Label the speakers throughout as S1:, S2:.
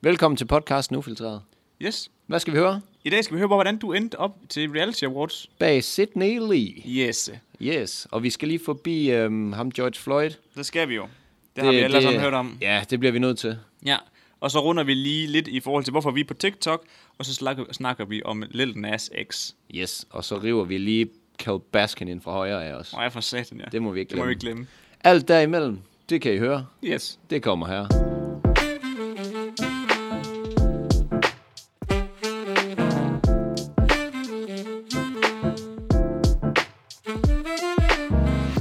S1: Velkommen til podcasten Ufiltreret.
S2: Yes.
S1: Hvad skal vi høre?
S2: I dag skal vi høre, på, hvordan du endte op til Reality Awards.
S1: Bag Sydney Lee.
S2: Yes.
S1: Yes, og vi skal lige forbi øhm, ham George Floyd. Det,
S2: Det skal vi jo. Det, det har vi alle sammen hørt om.
S1: Ja, det bliver vi nødt til.
S2: Ja. Og så runder vi lige lidt i forhold til, hvorfor vi er på TikTok, og så snakker, snakker vi om Lil Nas X.
S1: Yes, og så river vi lige Cal Baskin ind fra højre af os.
S2: Og jeg for satan, ja.
S1: Det må vi ikke
S2: det må vi
S1: glemme.
S2: ikke glemme.
S1: Alt derimellem, det kan I høre.
S2: Yes.
S1: Det kommer her.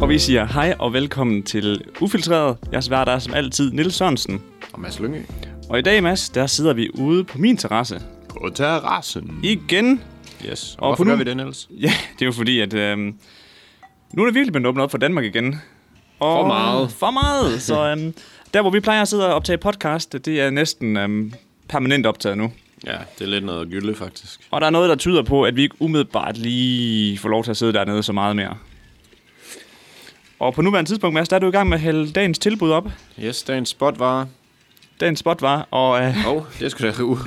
S2: Og vi siger hej og velkommen til Ufiltreret. Jeg svarer dig som altid, Nils Sørensen.
S1: Og Mads Lyngø.
S2: Og i dag, Mads, der sidder vi ude på min terrasse.
S1: På terrassen.
S2: Igen.
S1: Yes, og
S2: på
S1: hvorfor
S2: nu-
S1: gør vi det, Niels?
S2: Ja, det er jo fordi, at øh, nu er det virkelig blevet åbnet op for Danmark igen. Og
S1: For meget.
S2: For meget. Så øh, der, hvor vi plejer at sidde og optage podcast, det er næsten øh, permanent optaget nu.
S1: Ja, det er lidt noget gylde, faktisk.
S2: Og der er noget, der tyder på, at vi ikke umiddelbart lige får lov til at sidde dernede så meget mere. Og på nuværende tidspunkt, Mads, der er du i gang med at hælde dagens tilbud op.
S1: Yes, dagens spot var...
S2: Dagens spot var, og øh,
S1: Åh, oh, det skulle da rive.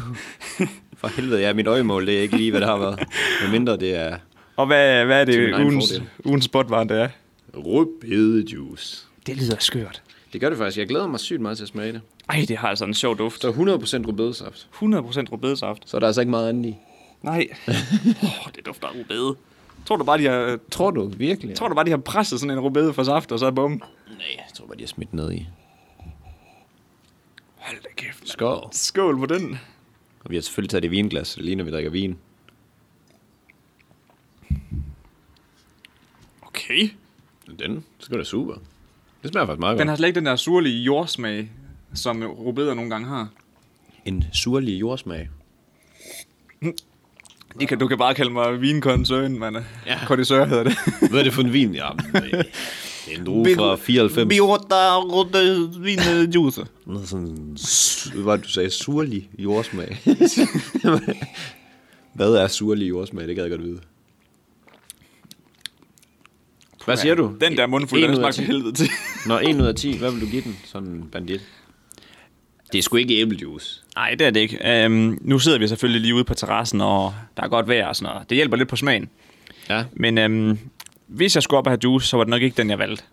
S1: For helvede, ja, mit øjemål, det er ikke lige, hvad det har været. Men mindre det er
S2: Og hvad, hvad er
S1: Til min
S2: det,
S1: egen
S2: ugens,
S1: fordel.
S2: ugens spotvare, det er?
S1: rødbedejuice.
S2: Det lyder skørt.
S1: Det gør det faktisk. Jeg glæder mig sygt meget til at smage det.
S2: Ej, det har altså en sjov duft.
S1: Så 100% rødbedesaft.
S2: 100% rødbedesaft.
S1: Så er der altså ikke meget andet i.
S2: Nej. oh, det dufter af rødbede. Tror du bare, de har, øh,
S1: Tror du virkelig?
S2: tror du bare, de har presset sådan en rødbede for saft, og så bum.
S1: Nej, jeg tror bare, de har smidt ned i.
S2: Hold da kæft. mand.
S1: Skål.
S2: Skål på den.
S1: Og vi har selvfølgelig taget det i vinglas, så det ligner, vi drikker vin.
S2: Okay.
S1: Den, så går det super. Det smager faktisk meget
S2: Den har slet ikke den der surlige jordsmag, som rødbeder nogle gange har.
S1: En surlig jordsmag.
S2: De kan, du kan bare kalde mig vinkoncern, mand.
S1: Ja.
S2: Ja. Kondisør hedder det.
S1: Hvad er det for en vin? Ja, det er en drue fra 94.
S2: Biota rødbede vinjuice.
S1: Noget sådan, su- hvad var det, du sagde? Surlig jordsmag. Hvad er surlig jordsmag? Det gad jeg godt vide. Hvad siger du?
S2: Den der mundfuld, den
S1: En ud af
S2: smagte
S1: ti.
S2: helvede til.
S1: Nå, 1 ud af 10. Hvad vil du give den? Sådan en bandit. Det er sgu ikke æblejuice.
S2: Nej, det er det ikke. Øhm, nu sidder vi selvfølgelig lige ude på terrassen, og der er godt vejr og sådan noget. Det hjælper lidt på smagen.
S1: Ja.
S2: Men øhm, hvis jeg skulle op og have juice, så var det nok ikke den, jeg valgte.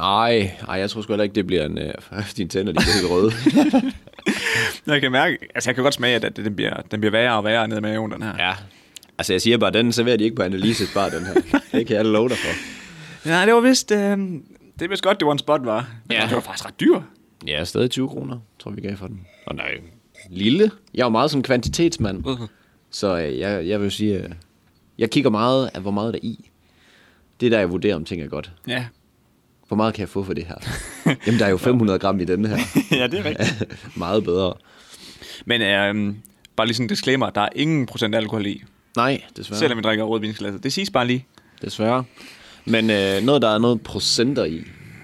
S1: Ej, ej, jeg tror sgu heller ikke, det bliver en... Øh, dine tænder, de bliver helt røde.
S2: Jeg kan mærke, altså jeg kan godt smage, at den bliver, den bliver værre og værre nede i maven, den her. Ja.
S1: Altså, jeg siger bare, den serverer de ikke på Annelises bar, den her. Det kan jeg love dig for.
S2: Nej, det var vist, øhm, det er vist godt, det var en spot, var.
S1: Ja.
S2: Ja. Det var faktisk ret dyr.
S1: Ja, stadig 20 kroner, tror vi gav for den. Og nej, lille. Jeg er jo meget sådan en kvantitetsmand.
S2: Mhm.
S1: Så øh, jeg, jeg vil sige, øh, jeg kigger meget af, hvor meget der er i. Det er der, jeg vurderer, om ting er godt.
S2: Ja.
S1: Hvor meget kan jeg få for det her? Jamen, der er jo 500 gram i den her.
S2: ja, det er rigtigt.
S1: meget bedre.
S2: Men øhm, bare lige sådan en disclaimer, der er ingen procent alkohol i,
S1: Nej, desværre.
S2: selvom vi drikker rødvinsglasset. Det siges bare lige.
S1: Desværre. Men øh, noget, der er noget procenter i.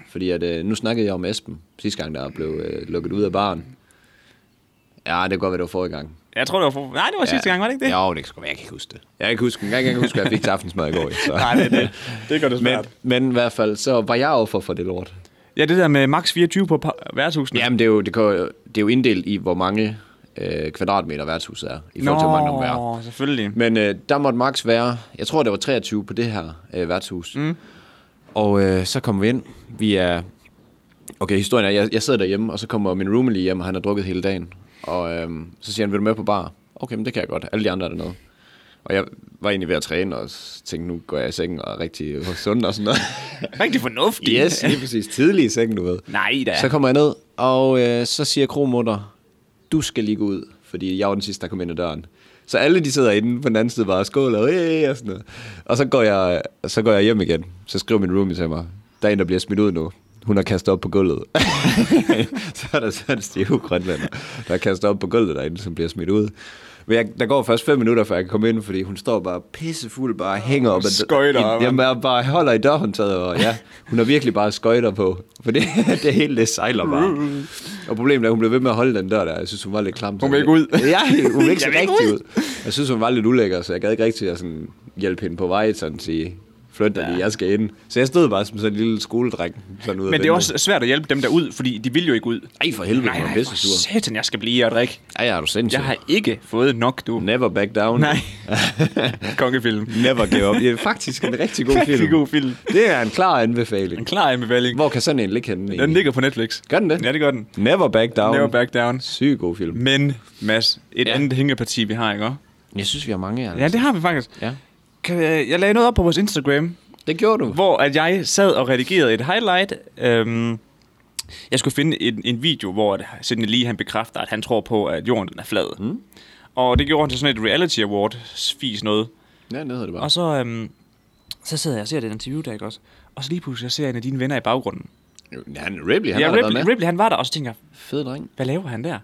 S1: Fordi at, øh, nu snakkede jeg om Esben sidste gang, der blev øh, lukket ud af baren. Ja, det kan godt være, det var forrige gang.
S2: Jeg tror, det var for... Nej, det var ja. sidste gang, var det ikke det?
S1: Jo, det skal være. Jeg kan ikke huske det. Jeg kan ikke huske, jeg kan ikke huske hvad jeg fik til aftensmad i går. jo, Så.
S2: Nej, det er det. Det gør det
S1: Men, men i hvert fald, så var jeg offer for det lort.
S2: Ja, det der med max 24 på par- værtshusene.
S1: Jamen, det er jo, det kan, jo- det er jo inddelt i, hvor mange øh, kvadratmeter værtshuset er, i forhold til, hvor mange der må være.
S2: Nå, selvfølgelig.
S1: Men øh, der måtte max være, jeg tror, det var 23 på det her øh, værtshus. Mm. Og øh, så kommer vi ind. Vi er... Okay, historien er, jeg, jeg sidder derhjemme, og så kommer min roomie lige hjem, og han har drukket hele dagen. Og øh, så siger han, vil du med på bar? Okay, men det kan jeg godt. Alle de andre er dernede. Og jeg var egentlig ved at træne, og s- tænkte, nu går jeg i sengen og er rigtig sund og sådan noget.
S2: Rigtig fornuftigt.
S1: yes, lige præcis. Tidlig i sengen, du ved.
S2: Nej da.
S1: Så kommer jeg ned, og øh, så siger kromutter, du skal lige gå ud, fordi jeg var den sidste, der kom ind ad døren. Så alle de sidder inde på den anden side bare, skål og, hey, og sådan noget. Og så går, jeg, så går jeg hjem igen. Så skriver min roomie til mig, der er en, der bliver smidt ud nu. Hun har kastet op på gulvet. så er der sådan en stiv grønlander, der er kastet op på gulvet derinde, som bliver smidt ud. Men jeg, der går først fem minutter, før jeg kan komme ind, fordi hun står bare pissefuld, bare hænger op. ad-
S2: Skøjter,
S1: i-
S2: mand.
S1: Jamen, jeg bare holder i dørhåndtaget, og ja, hun har virkelig bare skøjter på, for det, det hele det sejler bare. Og problemet er, at hun blev ved med at holde den dør der, jeg synes, hun var lidt klam.
S2: Hun vil ikke ud.
S1: Ja, hun vil ikke så
S2: Jeg vil ikke
S1: rigtig ud. Jeg synes, hun var lidt ulækker, så jeg gad ikke rigtig at sådan hjælpe hende på vej, sådan sige, flytte ja. jeg skal ind. Så jeg stod bare som sådan en lille skoledreng. Sådan ud af
S2: Men det er
S1: vinduet.
S2: også svært at hjælpe dem der ud, fordi de vil jo ikke ud.
S1: Ej, for helvede,
S2: Nej,
S1: hvor
S2: nej, for
S1: pisse sur.
S2: satan, jeg skal blive og drikke.
S1: Ej, er du sindssyg?
S2: Jeg har ikke fået nok, du.
S1: Never back down.
S2: Nej. Kongefilm.
S1: Never give up. Det er faktisk en rigtig god
S2: Rigtig
S1: film.
S2: god film.
S1: Det er en klar anbefaling.
S2: En klar anbefaling.
S1: Hvor kan sådan en ligge henne?
S2: Den
S1: egentlig?
S2: ligger på Netflix.
S1: Gør den det?
S2: Ja, det gør den.
S1: Never back down.
S2: Never back down.
S1: Syg god film.
S2: Men, Mads, et
S1: Ja.
S2: ja. andet hængeparti, vi har, ikke også?
S1: Jeg synes, vi har mange af
S2: Ja, det har vi faktisk.
S1: ja.
S2: Kan, øh, jeg lagde noget op på vores Instagram,
S1: Det gjorde du.
S2: hvor at jeg sad og redigerede et highlight. Øhm, jeg skulle finde en, en video, hvor at Sidney Lee han bekræfter, at han tror på, at jorden den er flad. Mm. Og det gjorde han til sådan et reality award fis noget.
S1: Ja, det hedder det bare.
S2: Og så, øhm, så sidder jeg og ser det interview der, ikke også? Og så lige pludselig, jeg ser en af dine venner i baggrunden.
S1: Ja, Han, Ripley, han
S2: ja,
S1: har da været
S2: Ripley,
S1: med.
S2: Ripley, han var der, og så tænker jeg,
S1: Fed dreng.
S2: hvad laver han der?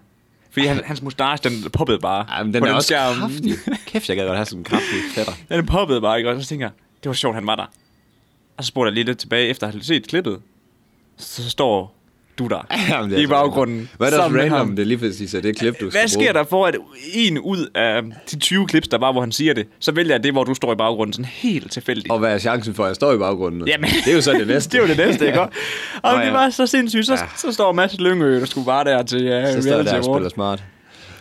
S2: Fordi han, hans mustache, den poppede bare
S1: Ja, men den
S2: på
S1: er
S2: den
S1: også
S2: skærm.
S1: kraftig. Kæft, jeg gad godt have sådan en kraftig fætter.
S2: Den poppede bare, ikke? Og så tænker jeg, det var sjovt, han var der. Og så spurgte jeg lige lidt tilbage, efter at have set klippet. Så, så står du der
S1: Jamen, det er
S2: i
S1: så
S2: baggrunden.
S1: random. Hvad er der også
S2: sammen med
S1: random,
S2: ham.
S1: det er lige præcis er det klip, du
S2: Hvad sker der for, at en ud af de 20 klips, der var, hvor han siger det, så vælger jeg det, hvor du står i baggrunden, sådan helt tilfældigt.
S1: Og hvad er chancen for, at jeg står i baggrunden?
S2: Jamen.
S1: Det er jo så det næste.
S2: det er jo det næste, ikke? Og
S1: Nå,
S2: ja.
S1: ja.
S2: det var så sindssygt. Så, ja. så står Mads Lyngø, der skulle bare der til uh,
S1: Så står jeg
S2: Reality
S1: der og spiller
S2: Award.
S1: smart.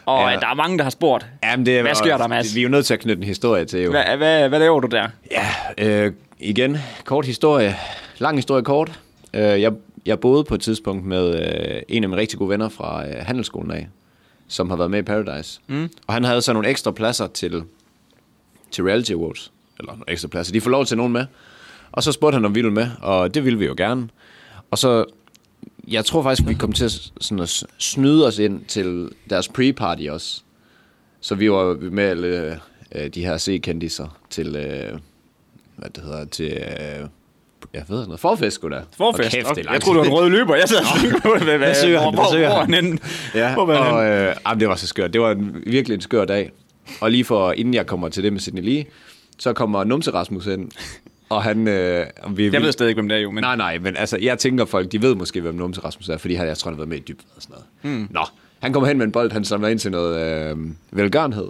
S2: Og
S1: Ja.
S2: ja. der er mange, der har spurgt,
S1: Jamen, det er,
S2: Hvad sker der, Mads?
S1: Vi er jo nødt til at knytte en historie til, jo.
S2: hvad, hvad, hvad laver du der?
S1: Ja, øh, igen, kort historie. Lang historie kort. Øh, jeg, jeg boede på et tidspunkt med øh, en af mine rigtig gode venner fra øh, handelsskolen af, som har været med i Paradise. Mm. Og han havde så nogle ekstra pladser til, til Reality Awards. Eller nogle ekstra pladser. De får lov til nogen med. Og så spurgte han, om vi ville med, og det ville vi jo gerne. Og så, jeg tror faktisk, vi kom til at, s- sådan at s- snyde os ind til deres pre-party også. Så vi var med alle øh, de her C-kendiser til, øh, hvad det hedder, til, øh, jeg ved noget, forfest sgu da.
S2: Forfest.
S1: Og kæft, det er
S2: Okay.
S1: lang
S2: Jeg troede, du
S1: tid.
S2: var en rød løber. Jeg sad og tænkte på, hvad, hvad
S1: søger han?
S2: hvor,
S1: Hvad søger
S2: hvor, hvor, er
S1: han?
S2: han henne?
S1: Ja,
S2: Hvor var
S1: og øh, jamen, det var så skørt. Det var en, virkelig en skør dag. Og lige for, inden jeg kommer til det med Sidney Lee, så kommer Numse Rasmus ind, og han... Øh, og vi,
S2: Jeg ved stadig ikke, hvem det er jo, men...
S1: Nej, nej, men altså, jeg tænker folk, de ved måske, hvem Numse Rasmus er, fordi han, jeg tror, han har været med i dybt og sådan noget.
S2: Hmm.
S1: Mm. Nå, han kommer hen med en bold, han samler ind til noget øh, velgørenhed.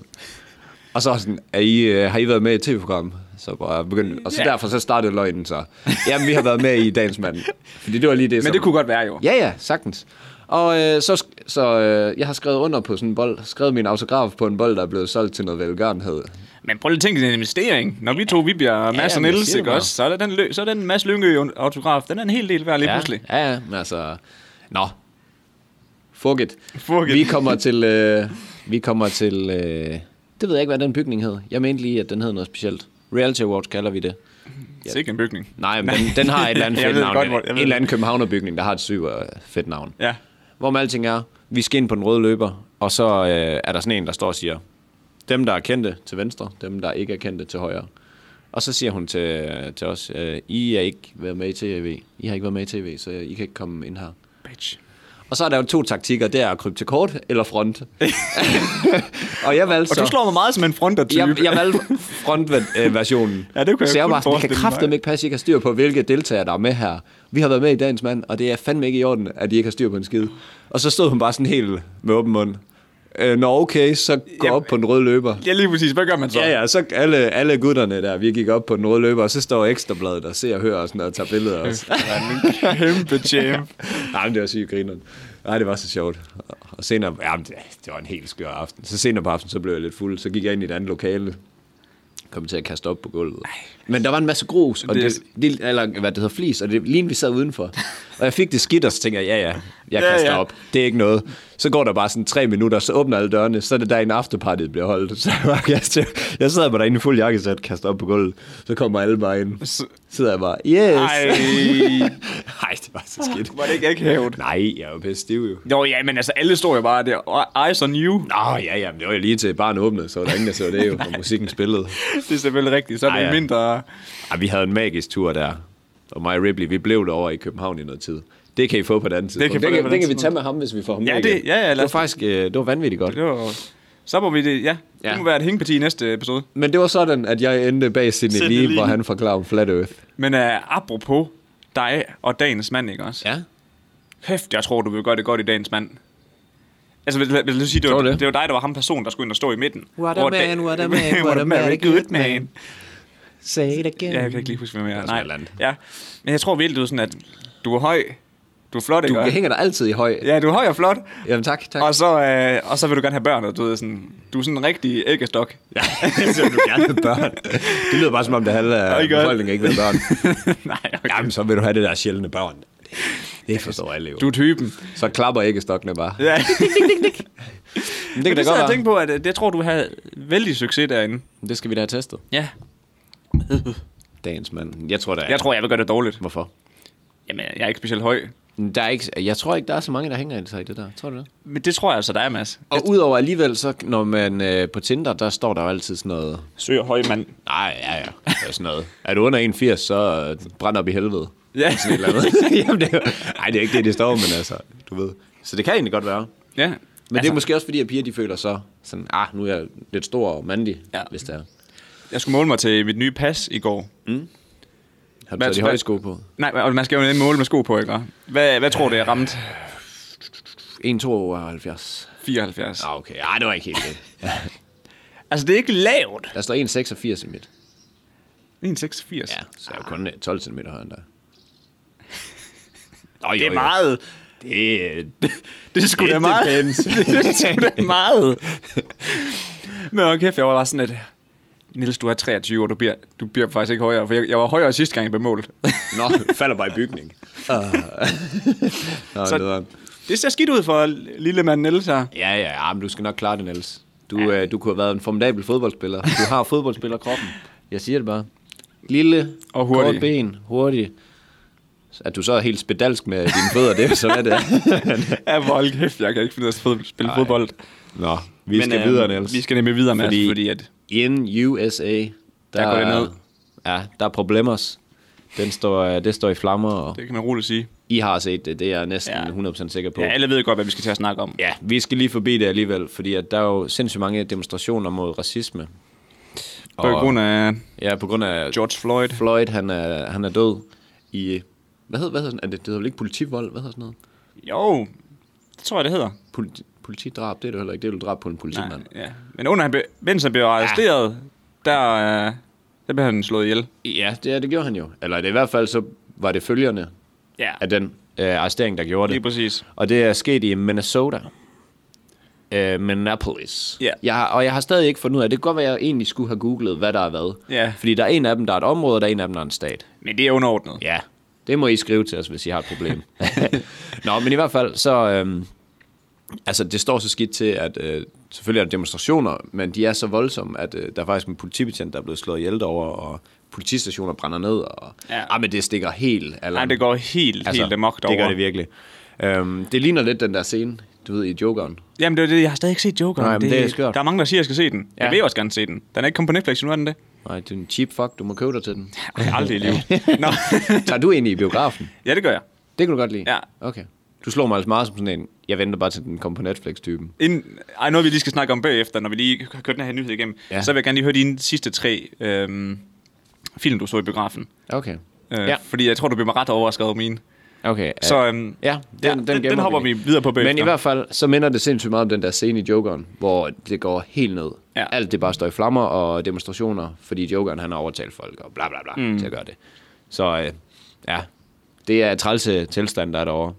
S1: Og så er sådan, er I, øh, har I været med i et tv-program? Så bare begyndte, og så
S2: Ja.
S1: derfor så startede løgnen så. Jamen, vi har været med i Dagens Mand. Fordi det var lige det,
S2: Men det kunne godt være jo.
S1: Ja, ja, sagtens. Og øh, så, sk- så øh, jeg har skrevet under på sådan en bold, skrevet min autograf på en bold, der er blevet solgt til noget velgørenhed.
S2: Men prøv lige at tænke, det er en investering. Når vi to, vi bliver Mads og
S1: men jeg
S2: Niels,
S1: siger det
S2: ikke
S1: bare.
S2: også? Så er den, lø- så er den Mads Lyngø autograf. Den er en hel del værd lige
S1: ja,
S2: pludselig.
S1: Ja, ja, men altså... Nå. Fuck it.
S2: Fuck it.
S1: Vi kommer til... Øh, vi kommer til... Øh, det ved jeg ikke, hvad den bygning hed. Jeg mente lige, at den hed noget specielt. Reality Awards kalder vi det.
S2: Det er ikke en bygning.
S1: Nej, men den, den har et eller andet
S2: Jeg
S1: fedt
S2: ved
S1: navn.
S2: godt, hvor- jeg ved
S1: en
S2: det.
S1: eller anden københavnerbygning, der har et super fedt navn.
S2: Ja.
S1: Hvor med alting er, vi skal ind på den røde løber, og så øh, er der sådan en, der står og siger, dem der er kendte til venstre, dem der ikke er kendte til højre. Og så siger hun til, til os, øh, I er ikke været med i tv, I har ikke været med i tv, så I kan ikke komme ind her.
S2: Bitch.
S1: Og så er der jo to taktikker, det er at krybe til kort eller front. og jeg valgte
S2: Og
S1: så...
S2: du slår mig meget som en frontertype.
S1: Jeg, jeg valgte frontversionen.
S2: Ja, det kunne jeg
S1: så jeg
S2: kun
S1: var sådan, jeg kan
S2: forestille
S1: kraftedeme
S2: mig.
S1: ikke passe, at I ikke har styr på, hvilke deltagere, der er med her. Vi har været med i dagens mand, og det er fandme ikke i orden, at de ikke har styr på en skid. Og så stod hun bare sådan helt med åben mund. Øh, Nå, okay, så gå
S2: Jamen-
S1: op på den røde løber.
S2: Ja, lige præcis. Hvad gør man så?
S1: Ja, ja, så alle, alle gutterne der, vi gik op på den røde løber, og så står Ekstrabladet og ser og hører og sådan noget, og tager billeder også.
S2: Kæmpe champ.
S1: Nej, men det var sygt grineren. Nej, det var så sjovt. Og senere, ja, men det, det var en helt skør aften. Så senere på aftenen, så blev jeg lidt fuld. Så gik jeg ind i et andet lokale. Kom til at kaste op på gulvet. Men der var en masse grus, og det,
S2: Det-
S1: det, eller hvad det hedder, flis, og det lignede, vi sad udenfor. Og jeg fik det skidt, og så tænkte jeg, ja, ja, jeg
S2: Ja,
S1: kaster
S2: ja.
S1: op. Det er ikke noget. Så går der bare sådan tre minutter, så åbner alle dørene, så er det der en afterparty, der bliver holdt. Så jeg, bare, jeg, jeg sad bare derinde i fuld jakkesæt, kaster op på gulvet. Så kommer alle bare ind. Så sidder jeg bare, yes.
S2: Ej.
S1: Ej, det var så skidt.
S2: Var det ikke akavet?
S1: Nej, jeg er jo pisse stiv jo.
S2: Jo, ja, men altså, alle står jo bare der. Og Eyes on you.
S1: Nå, ja, ja, men det var jo lige til barn åbnede, så var der ingen, der så det jo, og musikken spillede.
S2: Det er selvfølgelig rigtigt. Så er
S1: Ej,
S2: det
S1: ja.
S2: en mindre...
S1: Ej, vi havde en magisk tur der, og mig og Ripley, vi blev derovre i København i noget tid. Det kan I få på et andet tidspunkt.
S2: kan I få på et andet
S1: vi tage med ham, hvis vi får ham
S2: Ja,
S1: med
S2: det-
S1: igen.
S2: ja, ja, lad
S1: det var
S2: os-
S1: faktisk øh, det var vanvittigt godt.
S2: Det var... Så må vi det, ja.
S1: Ja.
S2: Det må være et hængeparti i næste episode.
S1: Men det var sådan, at jeg endte bag Sidney
S2: Sidney
S1: Lee,
S2: Lee.
S1: hvor han forklarer om Flat Earth.
S2: Men uh, apropos dig og dagens mand, ikke også?
S1: Ja.
S2: Kæft, jeg tror, du vil gøre det godt i dagens mand. Altså, vil, vil, vil du sige, det var,
S1: Tror du det?
S2: det? det var dig, der var ham person, der skulle ind og stå i midten.
S1: What a
S2: Hvor
S1: man,
S2: da-
S1: what a man, what a
S2: very
S1: man,
S2: good man.
S1: Say it again.
S2: Ja, jeg kan ikke lige huske, hvem jeg
S1: er
S2: er.
S1: sådan et
S2: Nej.
S1: eller andet.
S2: Ja. Men jeg tror virkelig, du er sådan, at du er høj. Du er flot,
S1: Du
S2: ikke?
S1: hænger dig altid i høj.
S2: Ja, du er høj og flot.
S1: Jamen tak, tak.
S2: Og så, øh, og så vil du gerne have børn, og du, ved, sådan, du er sådan en rigtig æggestok.
S1: Ja, så vil du gerne have børn. Det lyder bare som om, det halve af
S2: Ikke godt.
S1: befolkningen ikke vil have børn.
S2: Nej, okay.
S1: Jamen, så vil du have det der sjældne børn. Det forstår alle jo.
S2: Du er typen.
S1: Så klapper æggestokkene bare.
S2: Ja.
S1: Men det kan
S2: Men
S1: da
S2: det sad jeg og
S1: godt være.
S2: tænkte på, at øh, jeg tror, du har vældig succes derinde.
S1: Det skal vi da have testet.
S2: Ja.
S1: Dagens mand. Jeg tror da...
S2: Jeg tror, jeg vil gøre det dårligt.
S1: Hvorfor?
S2: Jamen, jeg er ikke specielt høj.
S1: Der er ikke, jeg tror ikke, der er så mange, der hænger i sig i det der. Tror du det?
S2: Men det tror jeg altså, der er, Mads.
S1: Og udover alligevel, så når man øh, på Tinder, der står der jo altid sådan noget...
S2: Søger høj mand.
S1: Nej, ja, ja. Det er sådan noget. Er du under 81, så øh, brænd op i helvede.
S2: Ja.
S1: Sådan et eller andet. Jamen, det er, jo- ej, det er ikke det, det står, men altså, du ved. Så det kan egentlig godt være.
S2: Ja.
S1: Men altså, det er måske også fordi, at piger de føler så sådan, ah, nu er jeg lidt stor og mandig,
S2: Ja.
S1: ja. hvis det er.
S2: Jeg skulle måle mig til mit nye pas i går.
S1: Har du
S2: Hvad-
S1: taget de høje sko på?
S2: Nej, og man skal jo måle med sko på, ikke? Og Hvad, hvad tror du, jeg ramte?
S1: 1, 72.
S2: 74.
S1: Ah, okay. Ej, det var ikke helt det.
S2: Altså, det er ikke lavt.
S1: Der står 1,86 i midt.
S2: 1,86. Ja.
S1: Ja, så er jeg jo kun øh, 12 cm højere end dig. Nå,
S2: Det er meget.
S1: Det, er-
S2: Det er sgu da
S1: It
S2: meget.
S1: depends.
S2: det er sgu da meget. Men okay, kæft, jeg var bare sådan, at... Niels, du er 23, og du bliver, du bliver faktisk ikke højere, for jeg, jeg var højere sidste gang, jeg blev målt.
S1: Nå, falder bare i bygning. Nå,
S2: Ah. Så-
S1: så...
S2: Det ser skidt ud for lille mand Niels her.
S1: Ja, ja, ja, men du skal nok klare det, Niels. Du, ja. øh, du kunne have været en formidabel fodboldspiller. Du har fodboldspillerkroppen. Jeg siger det bare. Lille,
S2: Og hurtig.
S1: kort ben, hurtig. At du så er helt spedalsk med dine fødder, det er så hvad det er.
S2: Ja, hvor kæft, jeg kan ikke finde ud af at fod- spille
S1: Nej.
S2: fodbold.
S1: Nå, vi Men, skal
S2: øh,
S1: øh, videre, Niels.
S2: Vi skal nemlig videre, Mads, fordi,
S1: Fordi-
S2: fordi at
S1: In USA, der,
S2: Der går det
S1: er-
S2: ned.
S1: Ja, der er problemer. Den står, øh, det står i flammer, og
S2: det kan man roligt sige.
S1: I har set det, det er jeg næsten
S2: Ja.
S1: ja. 100% sikker på.
S2: Ja, alle ved godt, hvad vi skal til at snakke om.
S1: Ja, vi skal lige forbi det alligevel, fordi at der er jo sindssygt mange demonstrationer mod racisme.
S2: På grund af
S1: Ja, på grund af
S2: George Floyd.
S1: Floyd, han er, han er død i... Hvad hedder, hvad hedder sådan? Er det, det hedder vel ikke politivold? Hvad hedder sådan noget?
S2: Jo, det tror jeg, det hedder.
S1: Politi, politidrab, det er det jo heller ikke. Det er jo drab på en politimand.
S2: Nej, ja. Men under han blev, mens han blev arresteret, der, øh, der blev han slået ihjel.
S1: Ja, det, er- det gjorde han jo. Eller det er i hvert fald så var det følgerne
S2: Ja,
S1: af den øh, arrestering, der gjorde
S2: lige
S1: det.
S2: præcis.
S1: Og det er sket i Minnesota. Øh, Minneapolis.
S2: Ja.
S1: Jeg, har- og jeg har stadig ikke fundet ud af, det kan godt være, at jeg egentlig skulle have googlet, hvad der er hvad.
S2: Ja.
S1: Fordi der er en af dem, der er et område, og der er en af dem, der er en stat.
S2: Men det er underordnet. Ja.
S1: Ja, det må I skrive til os, hvis I har et problem. Nå, men i hvert fald, så... Øhm, altså, det står så skidt til, at øh, selvfølgelig er der demonstrationer, men de er så voldsomme, at øh, der er faktisk en politibetjent, der er blevet slået ihjel over, og politistationer brænder ned, og...
S2: Ja.
S1: Ja. Ah, men det stikker helt... Eller,
S2: Nej, det går helt, altså, helt amok
S1: Det
S2: derovre.
S1: gør det virkelig. Øhm, det ligner lidt den der scene, du ved, i Jokeren.
S2: Jamen, det er det. Jeg har stadig ikke set Joker.
S1: Nej, men det er skørt.
S2: Der er mange, der siger, at jeg skal se den. Ja. Jeg
S1: Ja.
S2: vil også gerne se den. Den er ikke kommet på Netflix nu, er den det?
S1: Nej, det er en cheap fuck, du må købe dig til den.
S2: Ej, aldrig i livet. Nå.
S1: Tager du egentlig i biografen?
S2: ja, det gør jeg.
S1: Det kan du godt lide?
S2: Ja.
S1: Okay. Du slår mig altså meget som sådan en, jeg venter bare til den kommer på Netflix-typen.
S2: Inden, ej, noget vi lige skal snakke om bagefter, når vi lige har kørt den her nyhed igennem. Ja.
S1: Ja.
S2: Så vil jeg gerne lige høre dine sidste tre øhm, film, du så i biografen.
S1: Okay.
S2: Øh, ja.
S1: Ja.
S2: Fordi jeg tror, du bliver mig ret overrasket over mine.
S1: Okay.
S2: Så øhm,
S1: Ja, den,
S2: ja,
S1: den,
S2: den, den
S1: gemmer
S2: hopper vi
S1: lige.
S2: videre på bagefter.
S1: Men i hvert fald, så minder det sindssygt meget om den der scene i Jokeren, hvor det går helt ned.
S2: Ja.
S1: Ja. Alt det bare står i flammer og demonstrationer, fordi Jokeren han har overtalt folk og bla bla bla mm. til at gøre det. Så øh, ja, det er trælse tilstand, der er derovre.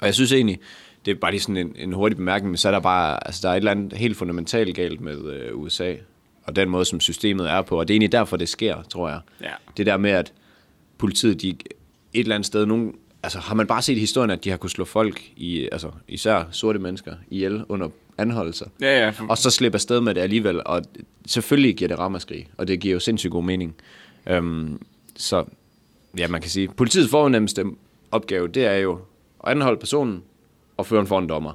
S1: Og jeg synes egentlig, det er bare lige sådan en, en hurtig bemærkning, men så er der bare, altså der er et eller andet helt fundamentalt galt med øh, USA, og den måde, som systemet er på, og det er egentlig derfor, det sker, tror jeg.
S2: Ja.
S1: Det der med, at politiet, de et eller andet sted, nogen, altså har man bare set i historien, at de har kunne slå folk, i, altså især sorte mennesker, ihjel under anholdelser,
S2: Ja, ja.
S1: og så slippe afsted med det alligevel, og selvfølgelig giver det ramaskrig, og det giver jo sindssygt god mening. Øhm, så, ja, man kan sige, politiets fornemmeste opgave, det er jo at anholde personen, og føre en for en dommer.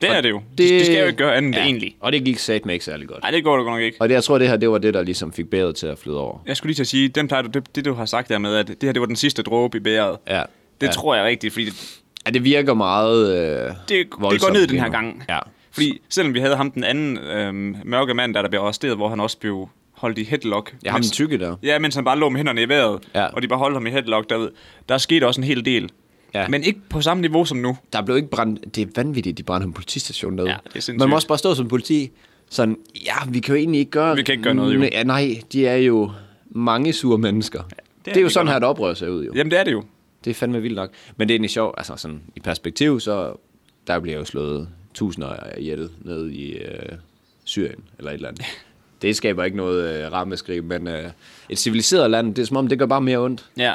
S2: Det er det jo. Det, det skal jo ikke gøre andet ja. egentlig.
S1: Og det gik satme ikke særlig godt.
S2: Nej, det går det godt nok ikke.
S1: Og det, jeg tror, det her, det var det, der ligesom fik bæret til at flyde over.
S2: Jeg skulle lige til at sige, den plejer du, det, det du har sagt der med, at det her det var den sidste dråbe i bæret.
S1: Ja.
S2: Det
S1: ja.
S2: tror jeg rigtigt, fordi det,
S1: Ja, det virker meget øh,
S2: det, det går
S1: voldsomt
S2: ned den
S1: lige
S2: her
S1: nu.
S2: gang.
S1: Ja.
S2: Fordi selvom vi havde ham den anden øhm, mørke mand, der, der blev arresteret, hvor han også blev holdt i headlock.
S1: Jeg har den
S2: mens,
S1: tykke der.
S2: ja, mens han bare lå med hænderne i vejret,
S1: Ja.
S2: og de bare holdt ham i headlock derude. Der skete også en hel del.
S1: Ja.
S2: Men ikke på samme niveau som nu.
S1: Der blev ikke brændt... Det er vanvittigt, de brændte en politistation derude.
S2: Ja, det er sindssygt.
S1: Man må også bare stå som politi. sådan, ja, vi kan jo egentlig ikke gøre...
S2: Vi kan ikke gøre noget, jo.
S1: Ja, nej, de er jo mange sure mennesker. Ja, det, er det er jo
S2: det
S1: sådan
S2: godt.
S1: her, et oprør ser ud, jo.
S2: Jamen, det er det jo.
S1: Det er fandme vildt nok. Men det er egentlig sjovt, altså sådan i perspektiv, så der bliver jo slået tusinder af jættet ned i øh, Syrien eller et eller andet. Det skaber ikke noget øh, rammeskrig, men øh, et civiliseret land, det er som om, det gør bare mere ondt.
S2: Ja.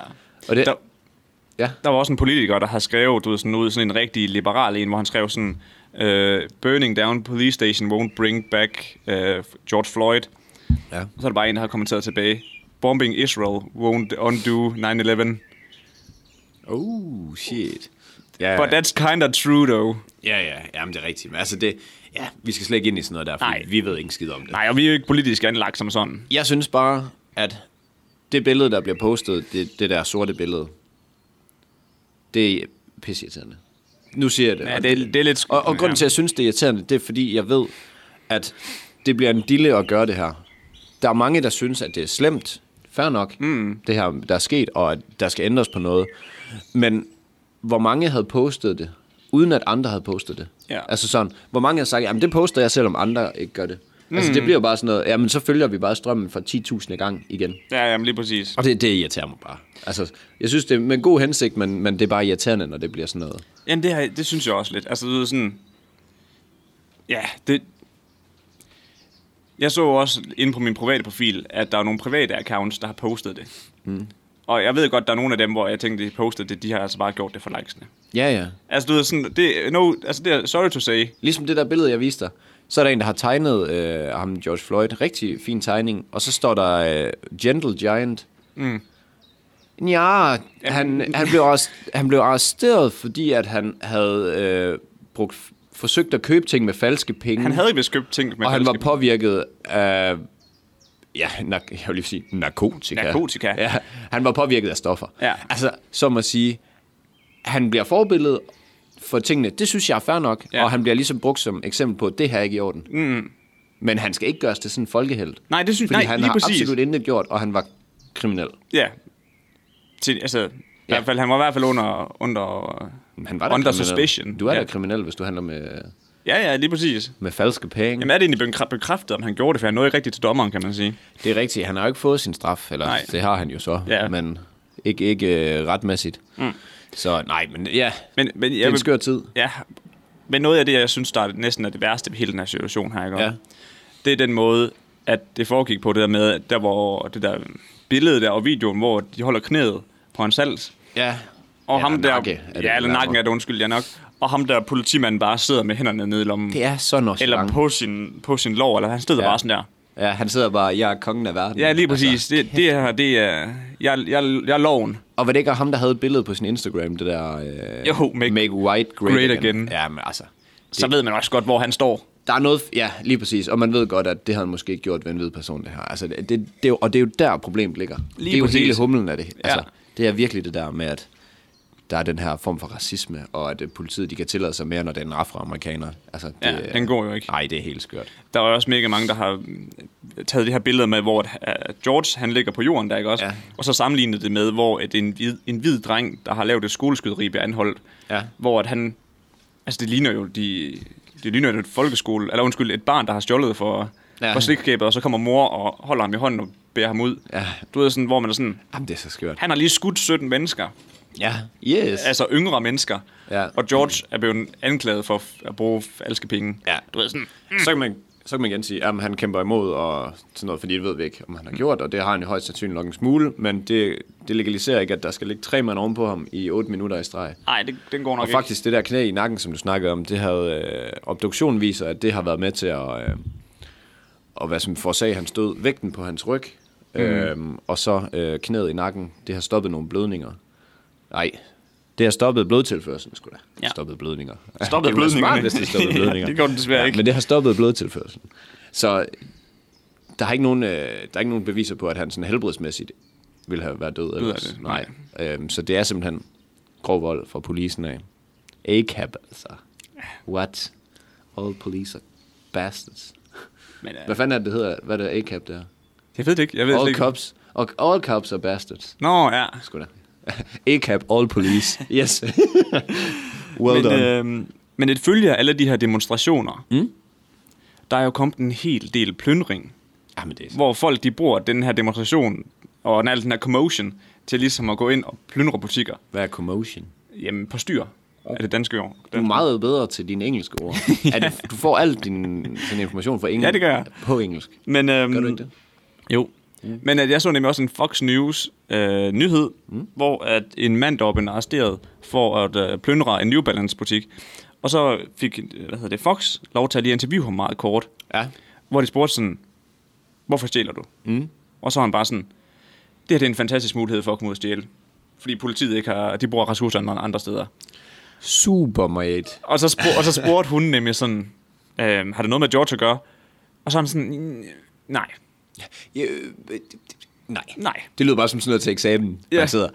S1: Og det,
S2: Der,
S1: ja,
S2: der var også en politiker, der har skrevet du ved, sådan, ud, sådan en rigtig liberal en, hvor han skrev sådan, øh, Burning down police station won't bring back øh, George Floyd.
S1: ja.
S2: Og så er der bare en, der har kommenteret tilbage. Bombing Israel won't undo 9-11.
S1: Oh, shit. Ja,
S2: But that's kinda true, though.
S1: ja, ja, jamen, det er rigtigt. Men altså det, ja, vi skal slet ikke ind i sådan noget der, for
S2: Nej.
S1: vi ved ikke en skid om det.
S2: Nej, og vi er jo ikke politisk anlagt som sådan.
S1: Jeg synes bare, at det billede, der bliver postet, det, det der sorte billede, det er pisseirriterende. Nu siger jeg det.
S2: Ja, det, er- det er lidt...
S1: Og, og grunden til, at jeg synes, det er irriterende, det er, fordi jeg ved, at det bliver en dille at gøre det her. Der er mange, der synes, at det er slemt. Fair nok, mm. det her, der er sket, og at der skal ændres på noget. Men hvor mange havde postet det, uden at andre havde postet det?
S2: Ja.
S1: Altså sådan, hvor mange har sagt, jamen det poster jeg, selvom andre ikke gør det. Mm. Altså det bliver jo bare sådan noget, jamen så følger vi bare strømmen for 10.000 gang igen.
S2: Ja, jamen lige præcis.
S1: Og det, det irriterer mig bare. Altså, jeg synes, det er med god hensigt, men, men det er bare irriterende, når det bliver sådan noget.
S2: Jamen, det, har, det synes jeg også lidt. Altså, du ved, sådan... Ja, det... Jeg så også inde på min private profil, at der er nogle private accounts, der har postet det. Mm. Og jeg ved godt, der er nogle af dem, hvor jeg tænkte, de postede det, de har altså bare gjort det for likesene.
S1: Ja, ja.
S2: Altså, du ved, sådan... Det, no, altså, det er, sorry to say.
S1: Ligesom det der billede, jeg viste dig. Så er der en, der har tegnet øh, ham, George Floyd. Rigtig fin tegning. Og så står der øh, Gentle Giant. Mm. Ja, han, han, blev arrest, han blev arresteret, fordi at han havde øh, brugt, forsøgt at købe ting med falske penge.
S2: Han havde jo vist købt ting med
S1: Mm. og han var
S2: falske-
S1: påvirket af... Ja, nar- jeg vil lige sige narkotika.
S2: Narkotika.
S1: Ja, han var påvirket af stoffer.
S2: Ja.
S1: Altså, som at sige, han bliver forbillede for tingene. Det synes jeg er fair nok.
S2: Ja.
S1: Og han bliver ligesom brugt som eksempel på, at det her er ikke i orden. Mm. Men han skal ikke gøres til sådan en folkehelt.
S2: Nej, det synes-
S1: Fordi
S2: nej,
S1: han
S2: lige
S1: har
S2: præcis.
S1: absolut intet gjort, og han var kriminel.
S2: Ja. Til, altså, ja. I hvert fald, han var i hvert fald under... under
S1: Han var da
S2: Under
S1: kriminel.
S2: suspicion.
S1: Du er
S2: ja.
S1: da kriminel, hvis du handler med,
S2: Ja, ja, lige præcis.
S1: med falske penge.
S2: Jamen er det egentlig bekra- bekræftet, om han gjorde det, for han nåede ikke rigtigt til dommeren, kan man sige.
S1: Det er rigtigt. Han har jo ikke fået sin straf, eller nej.
S2: Nej.
S1: det har han jo så,
S2: Ja.
S1: men ikke, ikke øh, retmæssigt. Mm. Så nej, men ja,
S2: Men, men jeg
S1: det er en
S2: vil-
S1: skør tid.
S2: Ja, men noget af det, jeg synes, der er næsten er det værste ved hele den her situation her, ikke?
S1: Ja.
S2: det er den måde, at det foregik på, det der med, at der hvor det der billede der og videoen, hvor de holder knæet på hans hals.
S1: Ja.
S2: Og ham der,
S1: nakke, er det,
S2: ja, eller
S1: nærmere.
S2: nakken er det, undskyld, ja nok. Og ham der politimanden bare sidder med hænderne nede i lommen.
S1: Det er så nok
S2: eller på sin, på sin lov, eller han sidder
S1: Ja.
S2: ja. bare sådan der.
S1: Ja, han sidder bare, jeg er kongen af verden.
S2: Ja, lige præcis. Altså, det, det her, det er... Jeg, jeg, jeg er loven.
S1: Og var det ikke ham, der havde et billede på sin Instagram, det der... Øh,
S2: Jo, make-
S1: make white great, again.
S2: great again.
S1: Ja, men altså...
S2: Så ved man også godt, hvor han står.
S1: Der er noget, ja, lige præcis. Og man ved godt, at det har han måske ikke gjort ved en hvid person, det her. Altså, det, det, det, er jo- og det er jo der, problemet ligger. det er jo
S2: præcis.
S1: hele humlen af det. Altså,
S2: Ja.
S1: Det er virkelig det der med, at der er den her form for racisme, og at øh, politiet de kan tillade sig mere, når det er en afroamerikaner. Altså, det,
S2: Ja, den går jo ikke.
S1: Nej, det er helt skørt.
S2: Der er jo også mega mange, der har mm, taget det her billede med, hvor øh, George han ligger på jorden, der ikke også?
S1: Ja.
S2: Ja. Og så sammenlignet det med, hvor et, en, hvid, en hvid dreng, der har lavet et skoleskyderi, bliver anholdt.
S1: Ja.
S2: Hvor at han... Altså, det ligner jo de... Det ligner jo et folkeskole... Eller undskyld, et barn, der har stjålet for,
S1: Ja.
S2: ja. for slikskabet, og så kommer mor og holder ham i hånden og bærer ham ud.
S1: Ja.
S2: Du ved sådan, hvor man er sådan...
S1: Jamen, det er så skørt.
S2: Han har lige skudt 17 mennesker.
S1: Ja, yes.
S2: Altså yngre mennesker.
S1: Ja.
S2: Og George er blevet anklaget for f- at bruge falske penge.
S1: Ja, du ved sådan... Så kan man, så kan man igen sige, at han kæmper imod og sådan noget, fordi det ved vi ikke, om han har gjort, og det har han jo højst sandsynligt nok en smule, men det, det legaliserer ikke, at der skal ligge tre mand ovenpå ham i 8 minutter i streg.
S2: Nej, det, den går nok
S1: Og
S2: ikke.
S1: faktisk det der knæ i nakken, som du snakkede om, det havde, øh, obduktionen viser, at det har været med til at, øh, og hvad som forårsag hans død, vægten på hans ryg,
S2: Mm.
S1: øh, og så øh, knæet i nakken, det har stoppet nogle blødninger. Nej, det har stoppet blodtilførselen, skulle da.
S2: Ja.
S1: Stoppet blødninger.
S2: Stoppet
S1: det var smart,
S2: blødningerne.
S1: hvis det stoppede
S2: Ja,
S1: blødninger.
S2: det gjorde den desværre ikke.
S1: Men det har stoppet blodtilførselen. Så der er ikke nogen, øh, der er ikke nogen beviser på, at han sådan helbredsmæssigt ville have været død. Ellers.
S2: det,
S1: Nej. Øhm, så det er simpelthen grov vold fra policen af. A-cap, altså. What? All police are bastards.
S2: Men, øh,
S1: Hvad fanden er det, det hedder? Hvad er det, A-cap der?
S2: jeg ved det ikke. Jeg ved det
S1: All
S2: ikke.
S1: cops. Og all cops are bastards.
S2: Nå, ja.
S1: Sgu da. A-cap, all police. Yes. well
S2: Men, øhm,
S1: done.
S2: øh, men et følge af alle de her demonstrationer, mm? der er jo kommet en hel del plyndring,
S1: Jamen, Ah, det er
S2: hvor folk de bruger den her demonstration og den- al den her commotion til ligesom at gå ind og plyndre butikker.
S1: Hvad er commotion?
S2: Jamen, på styr er det danske ord.
S1: Du er meget bedre til dine engelske ord. ja. er du, du får al din, din information fra engelsk
S2: Ja, det gør jeg.
S1: på engelsk.
S2: Men, øhm,
S1: Gør du ikke det?
S2: Jo. Mm. Men at jeg så nemlig også en Fox News øh, nyhed, mm. hvor at en mand, der var blevet arresteret for at øh, plyndre en New Balance butik, og så fik øh, hvad hedder det, Fox lov til at lige interviewe ham meget kort,
S1: Ja.
S2: hvor de spurgte sådan, hvorfor stjæler du?
S1: Mm.
S2: Og så var han bare sådan, det her det er en fantastisk mulighed for at komme ud og stjæle. Fordi politiet ikke har, de bruger ressourcerne andre steder.
S1: Super, mate.
S2: Og så, spurg, og så spurgte hun nemlig sådan, øh, har det noget med George at gøre? Og så er han sådan, "Mm, nej,
S1: Ja, øh, øh, nej.
S2: nej.
S1: Det lyder bare som sådan noget til eksamen,
S2: Ja.
S1: ja. man sidder.